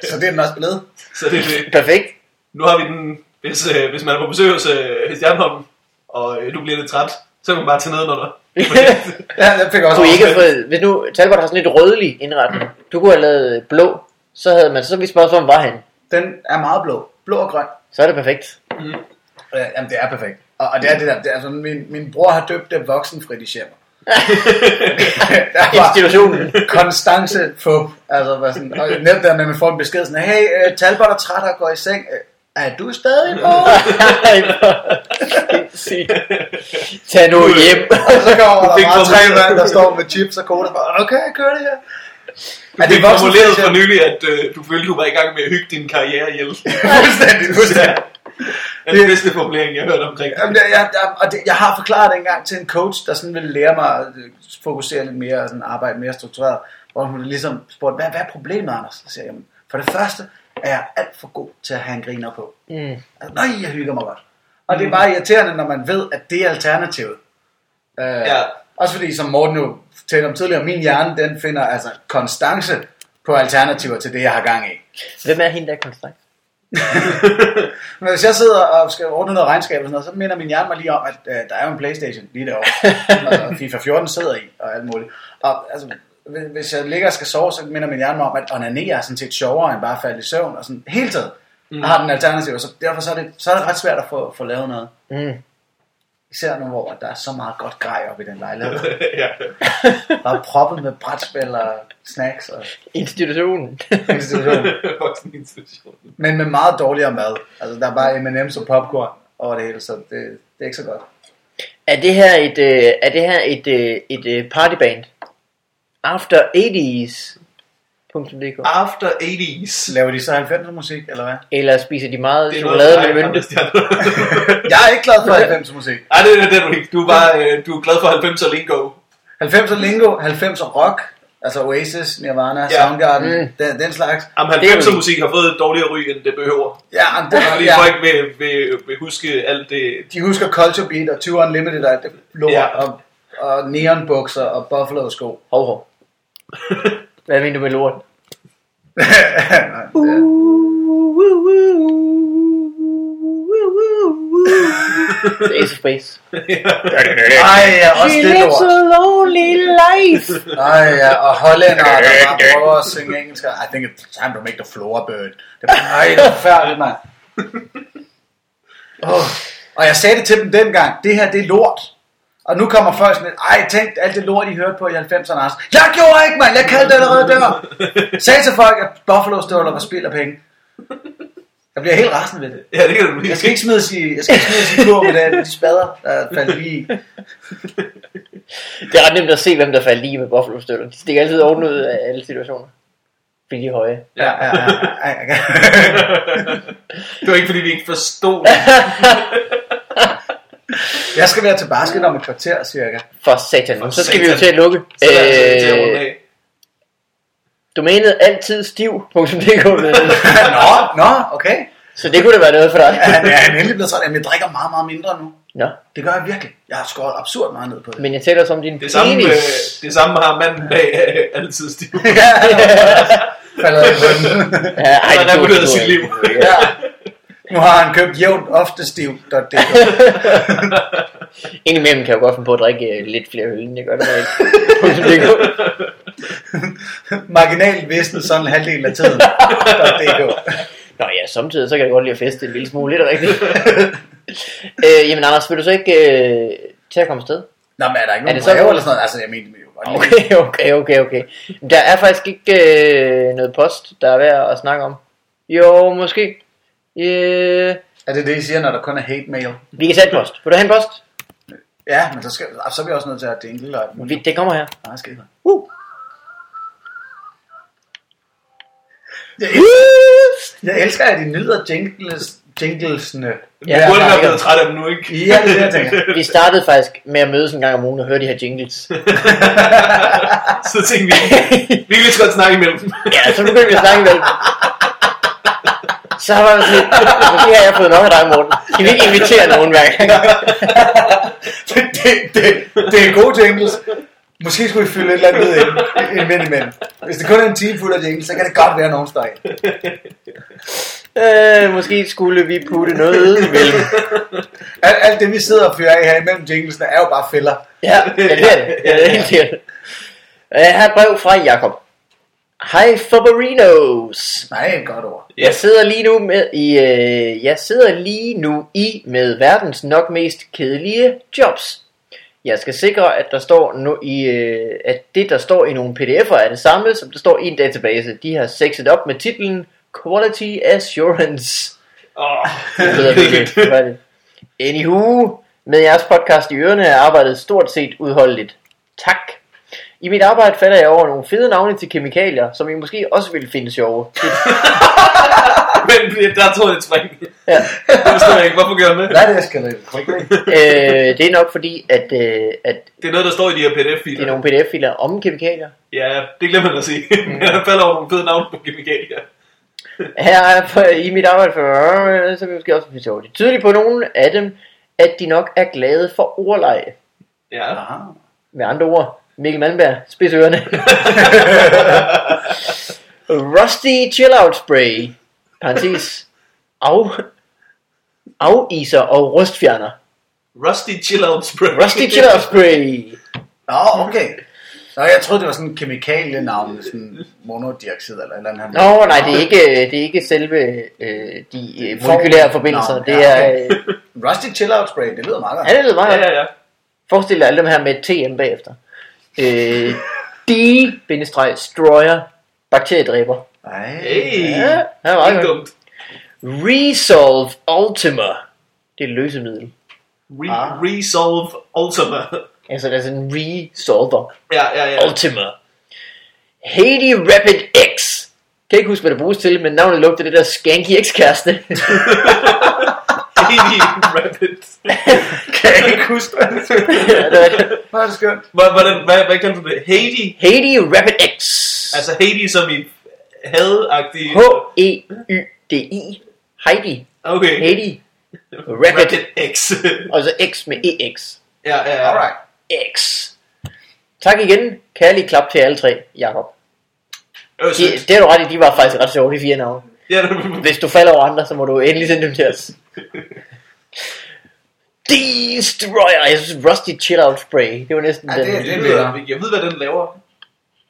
Speaker 2: Så det er den også blevet.
Speaker 1: Så det er det.
Speaker 3: Perfekt.
Speaker 1: Nu har vi den, hvis, øh, hvis man er på besøg hos øh, Stjernholm, og øh, du bliver lidt træt, så kan man bare tage ned under dig.
Speaker 2: Ja, den fik jeg også
Speaker 3: Kunne I ikke
Speaker 2: overskud.
Speaker 3: have fået, hvis nu Talbot har sådan lidt rødlig indretning, du kunne have lavet blå, så havde man, så vidste man også, hvor han var han.
Speaker 2: Den er meget blå. Blå og grøn.
Speaker 3: Så er det perfekt.
Speaker 2: Øh, jamen, det er perfekt. Og, og det er det der, det er, altså, min, min bror har døbt det voksen Freddy Schemmer. Der var-
Speaker 3: Institutionen.
Speaker 2: Konstance Fup. Altså, var sådan, og nemt der med, at man får en besked sådan, hey, uh, Talbot er træt og går i seng. Øh, Er du stadig på?
Speaker 3: Tag nu hjem.
Speaker 2: og så kommer
Speaker 1: Du fik
Speaker 2: der bare tre
Speaker 1: formuleret-
Speaker 2: mand, der står med chips og cola. Bare, okay, jeg kører det her.
Speaker 1: Du
Speaker 2: Er
Speaker 1: fik
Speaker 2: det voksen
Speaker 1: formuleret
Speaker 2: Freddy
Speaker 1: for nylig, at øh, du følte, du var i gang med at hygge din karriere ihjel.
Speaker 2: Schemmer? Fuldstændig, fuldstændig.
Speaker 1: Det er den bedste formulering, jeg har hørt omkring.
Speaker 2: Jamen, jeg, jeg, jeg, og det, jeg har forklaret det engang til en coach, der sådan ville lære mig at øh, fokusere lidt mere og sådan arbejde mere struktureret. Hvor hun ligesom spurgte, hvad, hvad er problemet, Anders? Så siger jeg, "Jamen, for det første er jeg alt for god til at have en griner på.
Speaker 3: Mm.
Speaker 2: Altså, nej, jeg hygger mig godt. Og det er bare irriterende, når man ved, at det er alternativet. Øh,
Speaker 1: Ja.
Speaker 2: Også fordi, som Morten jo talte om tidligere, min hjerne, den finder altså konstance på alternativer til det, jeg har gang i.
Speaker 3: Hvem er hende, der er konstant?
Speaker 2: Men hvis jeg sidder og skal ordne noget regnskab og sådan noget, så minder min hjerne mig lige om, at øh, der er jo en Playstation lige derovre, og FIFA 14 sidder i, og alt muligt. Og altså, hvis- hvis jeg ligger og skal sove, så minder min hjerne mig om, at onanere er sådan set sjovere, end bare at falde i søvn, og sådan hele tiden mm. har den alternativ, så derfor så er, det, så er det ret svært at få, få lavet noget.
Speaker 3: Mm.
Speaker 2: Især nu, hvor der er så meget godt grej op i den lejlighed.
Speaker 1: ja.
Speaker 2: Der er proppet med brætspil og snacks og
Speaker 3: Institutionen.
Speaker 2: institution.
Speaker 1: Voksen institution.
Speaker 2: Men med meget dårligere mad. Altså, der er bare M&M's og popcorn over det hele, så det, det er ikke så godt.
Speaker 3: er det her et, øh, er det her et, øh, et øh, partyband? After 80's. .dk.
Speaker 1: After 80's.
Speaker 2: Laver de så 90'er musik, eller hvad?
Speaker 3: Eller spiser de meget
Speaker 1: noget,
Speaker 3: chokolade
Speaker 1: der er
Speaker 3: med mynte?
Speaker 1: Anders Stjernholm.
Speaker 2: Jeg er ikke glad for 90'er musik.
Speaker 1: Ej, det, det, det er du ikke. Du er, bare, øh, du er glad for 90'er lingo.
Speaker 2: 90'er lingo, 90'er rock, altså Oasis, Nirvana,
Speaker 1: Ja.
Speaker 2: ja. Soundgarden,
Speaker 3: Mm.
Speaker 2: mm. den, den slags.
Speaker 1: Jamen,
Speaker 3: Det er jo
Speaker 1: 90'er
Speaker 3: en-
Speaker 1: musik har fået et dårligere ry, end det behøver.
Speaker 2: Ja, men det var,
Speaker 1: Fordi
Speaker 2: ja.
Speaker 1: folk vil, vil, vil huske alt det.
Speaker 2: De husker Culture Beat og 20 Unlimited og alt det lort,
Speaker 1: Ja.
Speaker 2: ja. og, og neonbukser og buffalo-sko.
Speaker 3: Hov, hov. Hvad mener du med lort?
Speaker 2: Nej, det
Speaker 3: Uh,
Speaker 2: er-
Speaker 3: Det er Ace of Space.
Speaker 2: Ej, ja, også det lort.
Speaker 3: lonely life.
Speaker 2: Ej, ja, og hollændere, der bare prøver at synge engelsk. I think it's time to make the floor burn. Det er bare, ej, det er forfærdeligt, mand. Oh. Og jeg sagde det til dem dengang, det her, det er lort. Og nu kommer folk sådan lidt, ej, tænk alt det lort, I hørte på i 90'erne, Anders. Jeg gjorde ikke, mand, jeg kaldte det allerede der. Sagde til folk, at Buffalo-støvler var spild af penge. Jeg bliver helt rasende ved det.
Speaker 1: Ja, det kan du
Speaker 2: Jeg
Speaker 1: blive.
Speaker 2: skal ikke smide sig, jeg skal ikke smide sig kurv med det, de spader, der faldt lige i.
Speaker 3: Det er ret nemt at se, hvem der faldt lige med buffalo støvler. De stikker altid oven ud af alle situationer. Fordi de er høje.
Speaker 2: Ja, ja, ja, ja, ja.
Speaker 1: Det var ikke, fordi vi ikke forstod det.
Speaker 2: Jeg skal være til basket om et kvarter, cirka.
Speaker 3: For satan.
Speaker 1: For
Speaker 3: så skal vi jo
Speaker 1: satan.
Speaker 3: til at lukke.
Speaker 1: Så er det altså til at runde
Speaker 3: Øh,
Speaker 1: af.
Speaker 3: domænet altidstiv.dk
Speaker 2: nå, nå, okay.
Speaker 3: Så det kunne da være noget for dig.
Speaker 2: Ja, men jeg er endelig blevet træt. Jamen, jeg drikker meget, meget mindre nu.
Speaker 3: Nå.
Speaker 2: Det gør jeg virkelig. Jeg har skåret absurd meget ned på det.
Speaker 3: Men jeg taler også om din
Speaker 1: Det samme,
Speaker 3: penis.
Speaker 1: øh, det samme har manden bag øh, altid stiv.
Speaker 2: ja, falder i søvn.
Speaker 3: Ja, ej,
Speaker 1: Han har
Speaker 3: det tog-
Speaker 1: reguleret
Speaker 3: det tog
Speaker 1: sit
Speaker 3: jeg
Speaker 1: liv.
Speaker 3: ikke.
Speaker 2: ja. Nu har han købt jævnt ofte stiv.dk.
Speaker 3: Indimellem kan jeg jo godt finde på at drikke øh, lidt flere øl, end jeg gør det med ikke.
Speaker 2: Marginalt visnet sådan en halvdel af tiden. .dk.
Speaker 3: Nå ja, samtidig så kan jeg godt lide at feste en lille smule, lidt rigtigt. øh, jamen Anders, vil du så ikke øh, til at komme afsted?
Speaker 2: Nå, men er der ikke
Speaker 3: Er
Speaker 2: nogen
Speaker 3: det så-
Speaker 2: breve eller sådan noget? Altså, jeg mener jo godt lige.
Speaker 3: Okay, okay, okay, okay. Der er faktisk ikke øh, noget post, der er værd at snakke om. Jo, måske. Øh,
Speaker 2: Er det det, I siger, når der kun er hate mail?
Speaker 3: vi kan tage et post. Vil du have en post?
Speaker 2: Ja, men så, skal, så er vi også nødt til at dingle og...
Speaker 3: Vi, det kommer her.
Speaker 2: Nej, skidt.
Speaker 3: Uh.
Speaker 2: Jeg, jeg elsker, at I nyder jingles, jinglesene.
Speaker 1: Ja,
Speaker 3: Ja,
Speaker 1: du burde
Speaker 3: nej,
Speaker 1: være
Speaker 3: ikke.
Speaker 1: blevet træt af dem nu, ikke?
Speaker 2: Ja, det er det, jeg tænker.
Speaker 3: Vi startede faktisk med at mødes en gang om ugen og høre de her jingles.
Speaker 1: Så tænkte vi, vi kan lige så godt snakke imellem.
Speaker 3: ja, så begyndte vi at snakke med Så var det sådan, lidt, måske har jeg fået nok af dig, Morten. Kan vi ikke invitere nogen hver gang?
Speaker 2: det, det, det, det er gode jingles. Måske skulle vi fylde et eller andet ud ind, ind imellem. Hvis det kun er en time fuld af jingles, så kan det godt være, at nogen står ind.
Speaker 3: Øh, måske skulle vi putte noget imellem.
Speaker 2: Alt, alt det, vi sidder og fyrer af her imellem jinglesene, er jo bare fælder.
Speaker 3: Ja, ja, det er det. Ja, det er helt det. Jeg har et brev fra Jakob. Hej Faberinos.
Speaker 2: Nej, et godt ord.
Speaker 3: Jeg sidder lige nu med i øh, jeg sidder lige nu i med verdens nok mest kedelige jobs. Jeg skal sikre at der står no, i øh, at det der står i nogle PDF'er er det samme som der står i en database. De har sexet op med titlen Quality Assurance.
Speaker 1: Åh,
Speaker 3: Det hedder det. Det var det. Anywho, med jeres podcast i ørerne er arbejdet stort set udholdeligt. Tak. I mit arbejde falder jeg over nogle fede navne til kemikalier, som I måske også ville finde sjove.
Speaker 1: Men der tog det et spring.
Speaker 3: Ja.
Speaker 1: Det forstår jeg ikke. Hvorfor gør man det?
Speaker 2: Hvad er det, jeg skal lide?
Speaker 3: øh, det er nok fordi, at, øh, at
Speaker 1: Det er noget, der står i de her
Speaker 3: det er
Speaker 1: PDF-filer.
Speaker 3: nogle Mm. PDF-filer om kemikalier.
Speaker 1: Ja, det glemmer man at sige. Men der falder over nogle fede navne på kemikalier.
Speaker 3: Her er på, i mit arbejde for, øh, så vil jeg måske også blive sjovt. Det er tydeligt på nogle af dem, at de nok er glade for ordleje.
Speaker 1: Ja.
Speaker 2: Aha.
Speaker 3: Med andre ord, Mikkel Malmberg, spids ørerne. Rusty Chill Out Spray, parentes, af, afiser og rustfjerner.
Speaker 1: Rusty Chill Out Spray.
Speaker 3: Rusty Chill Out Spray.
Speaker 2: Nå, okay. Nå, jeg troede, det var sådan en kemikalienavn, sådan monodioxid eller et eller andet.
Speaker 3: Nå, nej, det er ikke, det er ikke selve øh, de øh, molekylære
Speaker 2: Formen.
Speaker 3: forbindelser.
Speaker 2: Nå,
Speaker 3: det
Speaker 2: ja,
Speaker 3: er,
Speaker 2: okay.
Speaker 3: øh,
Speaker 2: Rusty Chill Out Spray, det lyder meget godt.
Speaker 3: ja, det lyder meget
Speaker 1: Ja,
Speaker 3: godt.
Speaker 1: ja, ja.
Speaker 3: Forestil dig alle dem her med et TM bagefter. Øh, D-destroyer bakteriedræber.
Speaker 2: Ej.
Speaker 1: Hey.
Speaker 3: Ja, det er meget
Speaker 1: Ikke
Speaker 3: godt.
Speaker 1: dumt.
Speaker 3: Resolve Ultima. Det er et løsemiddel.
Speaker 1: Re-
Speaker 2: Ah.
Speaker 1: Resolve Ultima.
Speaker 3: Altså, det er sådan en resolver.
Speaker 1: Ja, ja, ja.
Speaker 3: Ultima. Haiti Rapid X. Kan ikke huske, hvad det bruges til, men navnet lugter det der skanky ekskæreste.
Speaker 1: Haiti Rabbit.
Speaker 2: Kan jeg ikke huske hvad det? Hvor er det skønt.
Speaker 1: Hvor- Hvordan, hvad, hvad kaldte du det? Haiti?
Speaker 3: Haiti Rapid X.
Speaker 1: Altså Haiti som i had-agtig...
Speaker 3: E H-E-Y-D-I. Heidi.
Speaker 1: Okay.
Speaker 3: Haiti. Rapid.
Speaker 1: Rabbit X.
Speaker 3: Og så X med EX.
Speaker 1: ja, ja, ja.
Speaker 2: Alright.
Speaker 3: X. Tak igen. Kærlig klap til alle tre, Jakob.
Speaker 1: Det var
Speaker 3: De,
Speaker 1: sødt.
Speaker 3: det er du ret i, de var faktisk ret sjove, de fire navne.
Speaker 1: Ja, det-
Speaker 3: Hvis du falder over andre, så må du endelig sende dem til os. Destroyer. Jeg synes, Rusty Chill Out Spray. Det var næsten
Speaker 2: Ja,
Speaker 3: den.
Speaker 2: det er
Speaker 1: det
Speaker 2: det.
Speaker 1: lyder. Jeg ved, hvad den laver.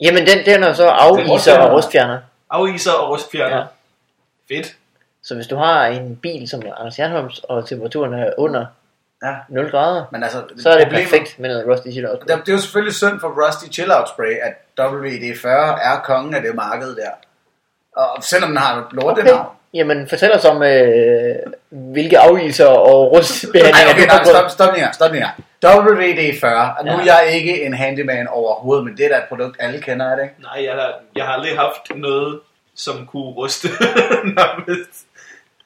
Speaker 3: Jamen, den, den er så afiser
Speaker 2: rustfjerner.
Speaker 3: og rustfjerner.
Speaker 1: Afiser og rustfjerner.
Speaker 3: Ja.
Speaker 1: Ja. Fedt.
Speaker 3: Så hvis du har en bil som Anders Jernholms, og temperaturen er under
Speaker 2: Ja.
Speaker 3: 0 grader,
Speaker 2: Men altså,
Speaker 3: så er det
Speaker 2: problemet-
Speaker 3: perfekt med noget Rusty Chill Out Spray.
Speaker 2: Der, det er jo selvfølgelig synd for Rusty Chill Out Spray, at WD-40 er kongen af det marked der. Og selvom den har et lortet
Speaker 3: Okay.
Speaker 2: navn.
Speaker 3: Jamen, fortæl os om, øh, hvilke afiser og
Speaker 2: Nej,
Speaker 3: rustbehandlinger
Speaker 2: okay,
Speaker 3: du har
Speaker 2: nej,
Speaker 3: prøvet.
Speaker 2: stop, stop lige her, stop lige her. WD-40, og nu
Speaker 3: Ja.
Speaker 2: er jeg ikke en handyman overhovedet, men det er da et produkt, alle kender, er det ikke?
Speaker 1: Nej, jeg har, jeg har aldrig haft noget, som kunne ruste nærmest.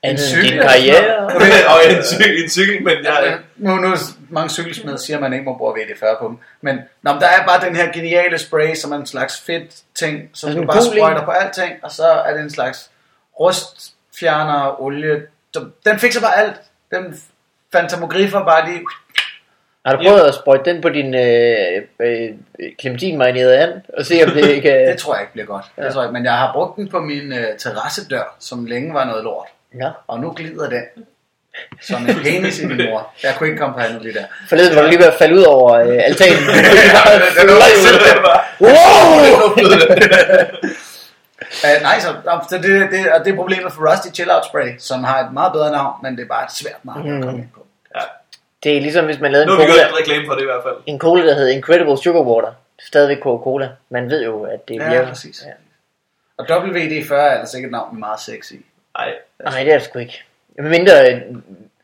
Speaker 3: Andet end
Speaker 2: cykel
Speaker 3: Øh, din
Speaker 2: eller sådan
Speaker 3: karriere.
Speaker 2: noget.
Speaker 1: og en, cy- en cykel, men jeg...
Speaker 2: Nu, nu mange cykelsmed siger, at man ikke må bruge VD40 på dem. Men, nå, men der er bare den her geniale spray, som er en slags fedt ting, som
Speaker 3: Altså
Speaker 2: du
Speaker 3: en
Speaker 2: bare
Speaker 3: gul en.
Speaker 2: sprøjter på alting, og så er det en slags rustfjerner, olie. som- Den fikser bare alt. Den fantamogriffer bare lige...
Speaker 3: Har du prøvet at sprøjte den på din øh, øh, clementinmarinerede and, og se om det ikke
Speaker 2: Det
Speaker 3: kan...
Speaker 2: tror jeg ikke bliver godt. Det tror jeg ikke. Men jeg har brugt den på min øh, terrassedør, som længe var noget lort.
Speaker 3: Nå.
Speaker 2: Og nu glider den. Som en penis i min mor. Jeg kunne ikke komme på andet lige der.
Speaker 3: Forleden var du lige ved at falde ud over øh, altanen.
Speaker 2: den er også selv, den
Speaker 3: wow!
Speaker 2: Uh, nej, så, nå, så det, det, og det er
Speaker 3: Mhm.
Speaker 2: problemet for Rusty Chill Out Spray, som har et meget bedre navn, men det er bare et svært navn at komme ind på.
Speaker 3: Det er ligesom, hvis man lavede
Speaker 1: Nu
Speaker 3: en
Speaker 1: har vi gjort
Speaker 3: cola,
Speaker 1: lidt reklame for det i hvert fald.
Speaker 3: en cola, der hed Incredible Sugar Water. Stadigvæk Coca-Cola. Man ved jo, at det
Speaker 2: Ja,
Speaker 3: virker.
Speaker 2: præcis. Og WD-40 er altså ikke et navn, men meget sexy.
Speaker 1: Nej,
Speaker 3: Nej, det er det sgu ikke. Men mindre, øh,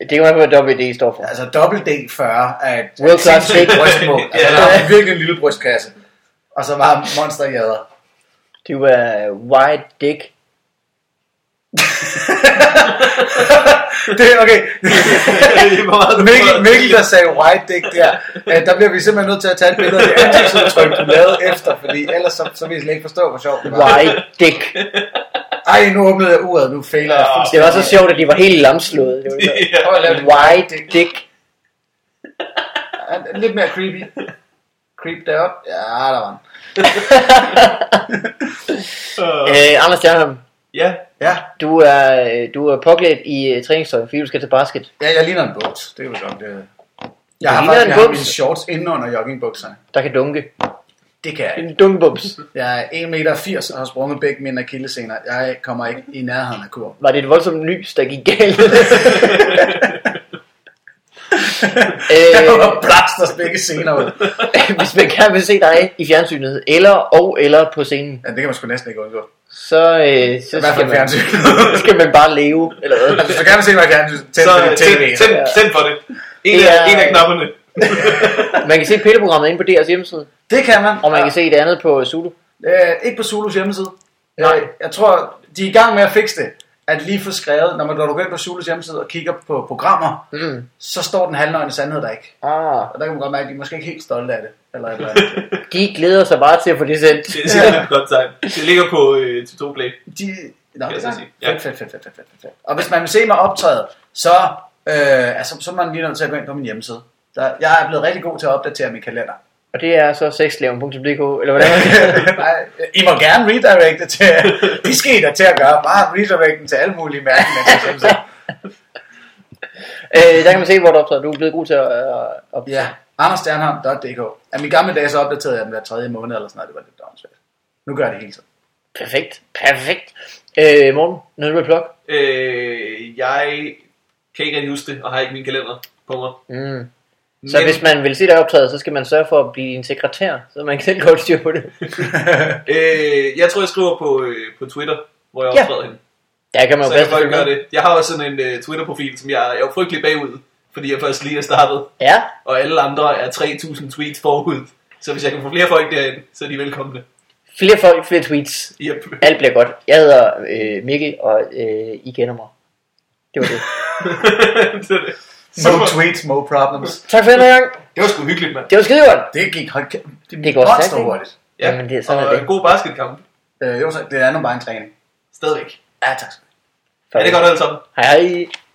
Speaker 3: det er jo hvad WD står for.
Speaker 2: Altså WD-40 er et
Speaker 3: World Class
Speaker 2: sindssygt
Speaker 3: Big.
Speaker 2: brystmål. Altså,
Speaker 1: Ja.
Speaker 2: der er virkelig en lille brystkasse. Og så bare monsterjader.
Speaker 3: Det var White Dick.
Speaker 2: det er okay.
Speaker 1: Hvor meget du-
Speaker 2: Mikkel, Mikkel, der sagde white dick der, øh, der bliver vi simpelthen nødt til at tage et billede af det ansigtsudtryk, du lavede efter, fordi ellers så, så vil jeg slet ikke forstå, hvor sjovt det var.
Speaker 3: White Dick.
Speaker 2: Ej, nu åbnede jeg uret, nu fejler jeg
Speaker 1: Ja.
Speaker 3: Det
Speaker 2: fuldstændig.
Speaker 3: var så sjovt, at de var helt lamslået. Det var så-
Speaker 1: Ja.
Speaker 2: Prøv at lave det
Speaker 3: White Dick.
Speaker 2: Ja, Lidt mere creepy. Creep derop. Ja, der var den.
Speaker 1: Øh,
Speaker 3: Øh, Anders Stjernholm,
Speaker 1: Ja,
Speaker 2: Ja,
Speaker 3: du er, øh, du er påklædt i øh, træningstøj, fordi du skal til basket.
Speaker 2: ja jeg ligner en buks. Det er jo godt. Det... Jeg
Speaker 3: Du
Speaker 2: har
Speaker 3: ligner
Speaker 2: faktisk
Speaker 3: en
Speaker 2: jeg har
Speaker 3: buks.
Speaker 2: mine shorts inde under joggingbukserne.
Speaker 3: Der kan dunke.
Speaker 2: Det kan jeg ikke.
Speaker 3: En dunkebums.
Speaker 2: Jeg er 1,80 meter og har sprunget begge mine akillesener. Jeg kommer ikke i nærheden af kurven.
Speaker 3: Var det et voldsomt lys, der gik galt?
Speaker 2: Jeg
Speaker 3: øh,
Speaker 2: kommer blaster begge sener ud.
Speaker 3: hvis man gerne vil se dig i fjernsynet, eller og eller på scenen,
Speaker 2: Ja, det kan man sgu næsten ikke undgå.
Speaker 3: så, øh, så,
Speaker 2: I hvert
Speaker 3: skal
Speaker 2: fald
Speaker 3: man,
Speaker 2: fjernsyn.
Speaker 3: så skal man bare leve. Eller hvad?
Speaker 2: Så kan man se mig i fjernsyn. Tænd
Speaker 1: så
Speaker 2: for det
Speaker 1: tænd,
Speaker 2: tv.
Speaker 1: tænd, tænd for det. En, af,
Speaker 3: Ja.
Speaker 1: en af knapperne.
Speaker 3: Man kan se pilleprogrammet inde på DR's hjemmeside,
Speaker 2: Det kan man.
Speaker 3: og man kan se det andet på Zulu.
Speaker 2: Øh, ikke på Zulus hjemmeside.
Speaker 3: Nej.
Speaker 2: Øh, Jeg tror, de er i gang med at fikse det. At lige få skrevet, når man når du går ind på Zulus hjemmeside og kigger på programmer,
Speaker 3: Mm.
Speaker 2: så står den halvnøgne sandhed der ikke.
Speaker 3: Ah,
Speaker 2: Og der kan man godt mærke, at de er måske ikke helt stolte af det. Eller, et eller andet.
Speaker 3: de glæder sig bare til at få det sendt.
Speaker 1: Det, det er et godt tegn. Det ligger på øh, TV2 Play.
Speaker 2: de... Nå,
Speaker 1: Kan jeg
Speaker 2: det
Speaker 1: så
Speaker 2: er
Speaker 1: sige. Ja.
Speaker 2: fedt, fedt, fedt, fedt, fedt, fedt, fedt. Og hvis man vil se mig optræde, så, øh, altså, så er man lige nødt til at gå ind på min hjemmeside. Der, jeg er blevet rigtig god til at opdatere min kalender.
Speaker 3: Og det er så sexleven.dk, eller hvordan?
Speaker 2: Nej, I må gerne redirecte til, det skal I da til at gøre, bare redirecten til alle mulige mærkelige.
Speaker 3: øh, der kan man se, hvor du optræder. Du er blevet god til at øh, optræde.
Speaker 2: Ja, anderstjernholm.dk. Af mine gamle dage, så opdaterede jeg den hver tredje måned eller sådan noget. Det var lidt dårligt. Nu gør jeg det hele tiden.
Speaker 3: Perfekt, perfekt. Øh, Morten, noget du vil plukke?
Speaker 1: Øh, jeg kan ikke rigtig huske det, og har ikke min kalender på mig.
Speaker 3: Mm. Så Men... hvis man vil se dig optræde, så skal man sørge for at blive din sekretær, så man kan selv godt styr på det.
Speaker 1: øh, jeg tror, jeg skriver på, øh, på Twitter, hvor jeg
Speaker 3: Ja.
Speaker 1: optræder hende.
Speaker 3: Der kan man
Speaker 1: Så
Speaker 3: jo
Speaker 1: jeg
Speaker 3: bedst
Speaker 1: kan
Speaker 3: følge
Speaker 1: gøre
Speaker 3: med.
Speaker 1: det. Jeg har også sådan en øh, Twitter-profil, som jeg, jeg er jo frygtelig bagud, fordi jeg først lige er startet,
Speaker 3: Ja,
Speaker 1: og alle andre er 3.000 tweets forud. Så hvis jeg kan få flere folk derind, så er de velkomne.
Speaker 3: flere folk, flere tweets.
Speaker 1: Yep.
Speaker 3: Alt bliver godt. Jeg hedder øh, Mikkel, og øh, I kender mig. Det var det.
Speaker 1: det er det.
Speaker 2: No
Speaker 1: Super.
Speaker 2: tweets, no problems.
Speaker 3: tak for den her gang.
Speaker 1: Det var sgu hyggeligt, mand.
Speaker 3: Det var skide godt.
Speaker 2: Det gik hold kæft.
Speaker 3: Det går stærkt,
Speaker 2: monster
Speaker 3: ikke?
Speaker 2: hurtigt.
Speaker 1: Ja.
Speaker 3: Jamen, det er sådan,
Speaker 1: og
Speaker 3: er det.
Speaker 1: en god basketkamp.
Speaker 2: Øh, jo, så det er nu bare en træning.
Speaker 1: Stadigvæk.
Speaker 2: Ja, tak.
Speaker 1: Ja, det er godt alle sammen.
Speaker 3: Hej hej.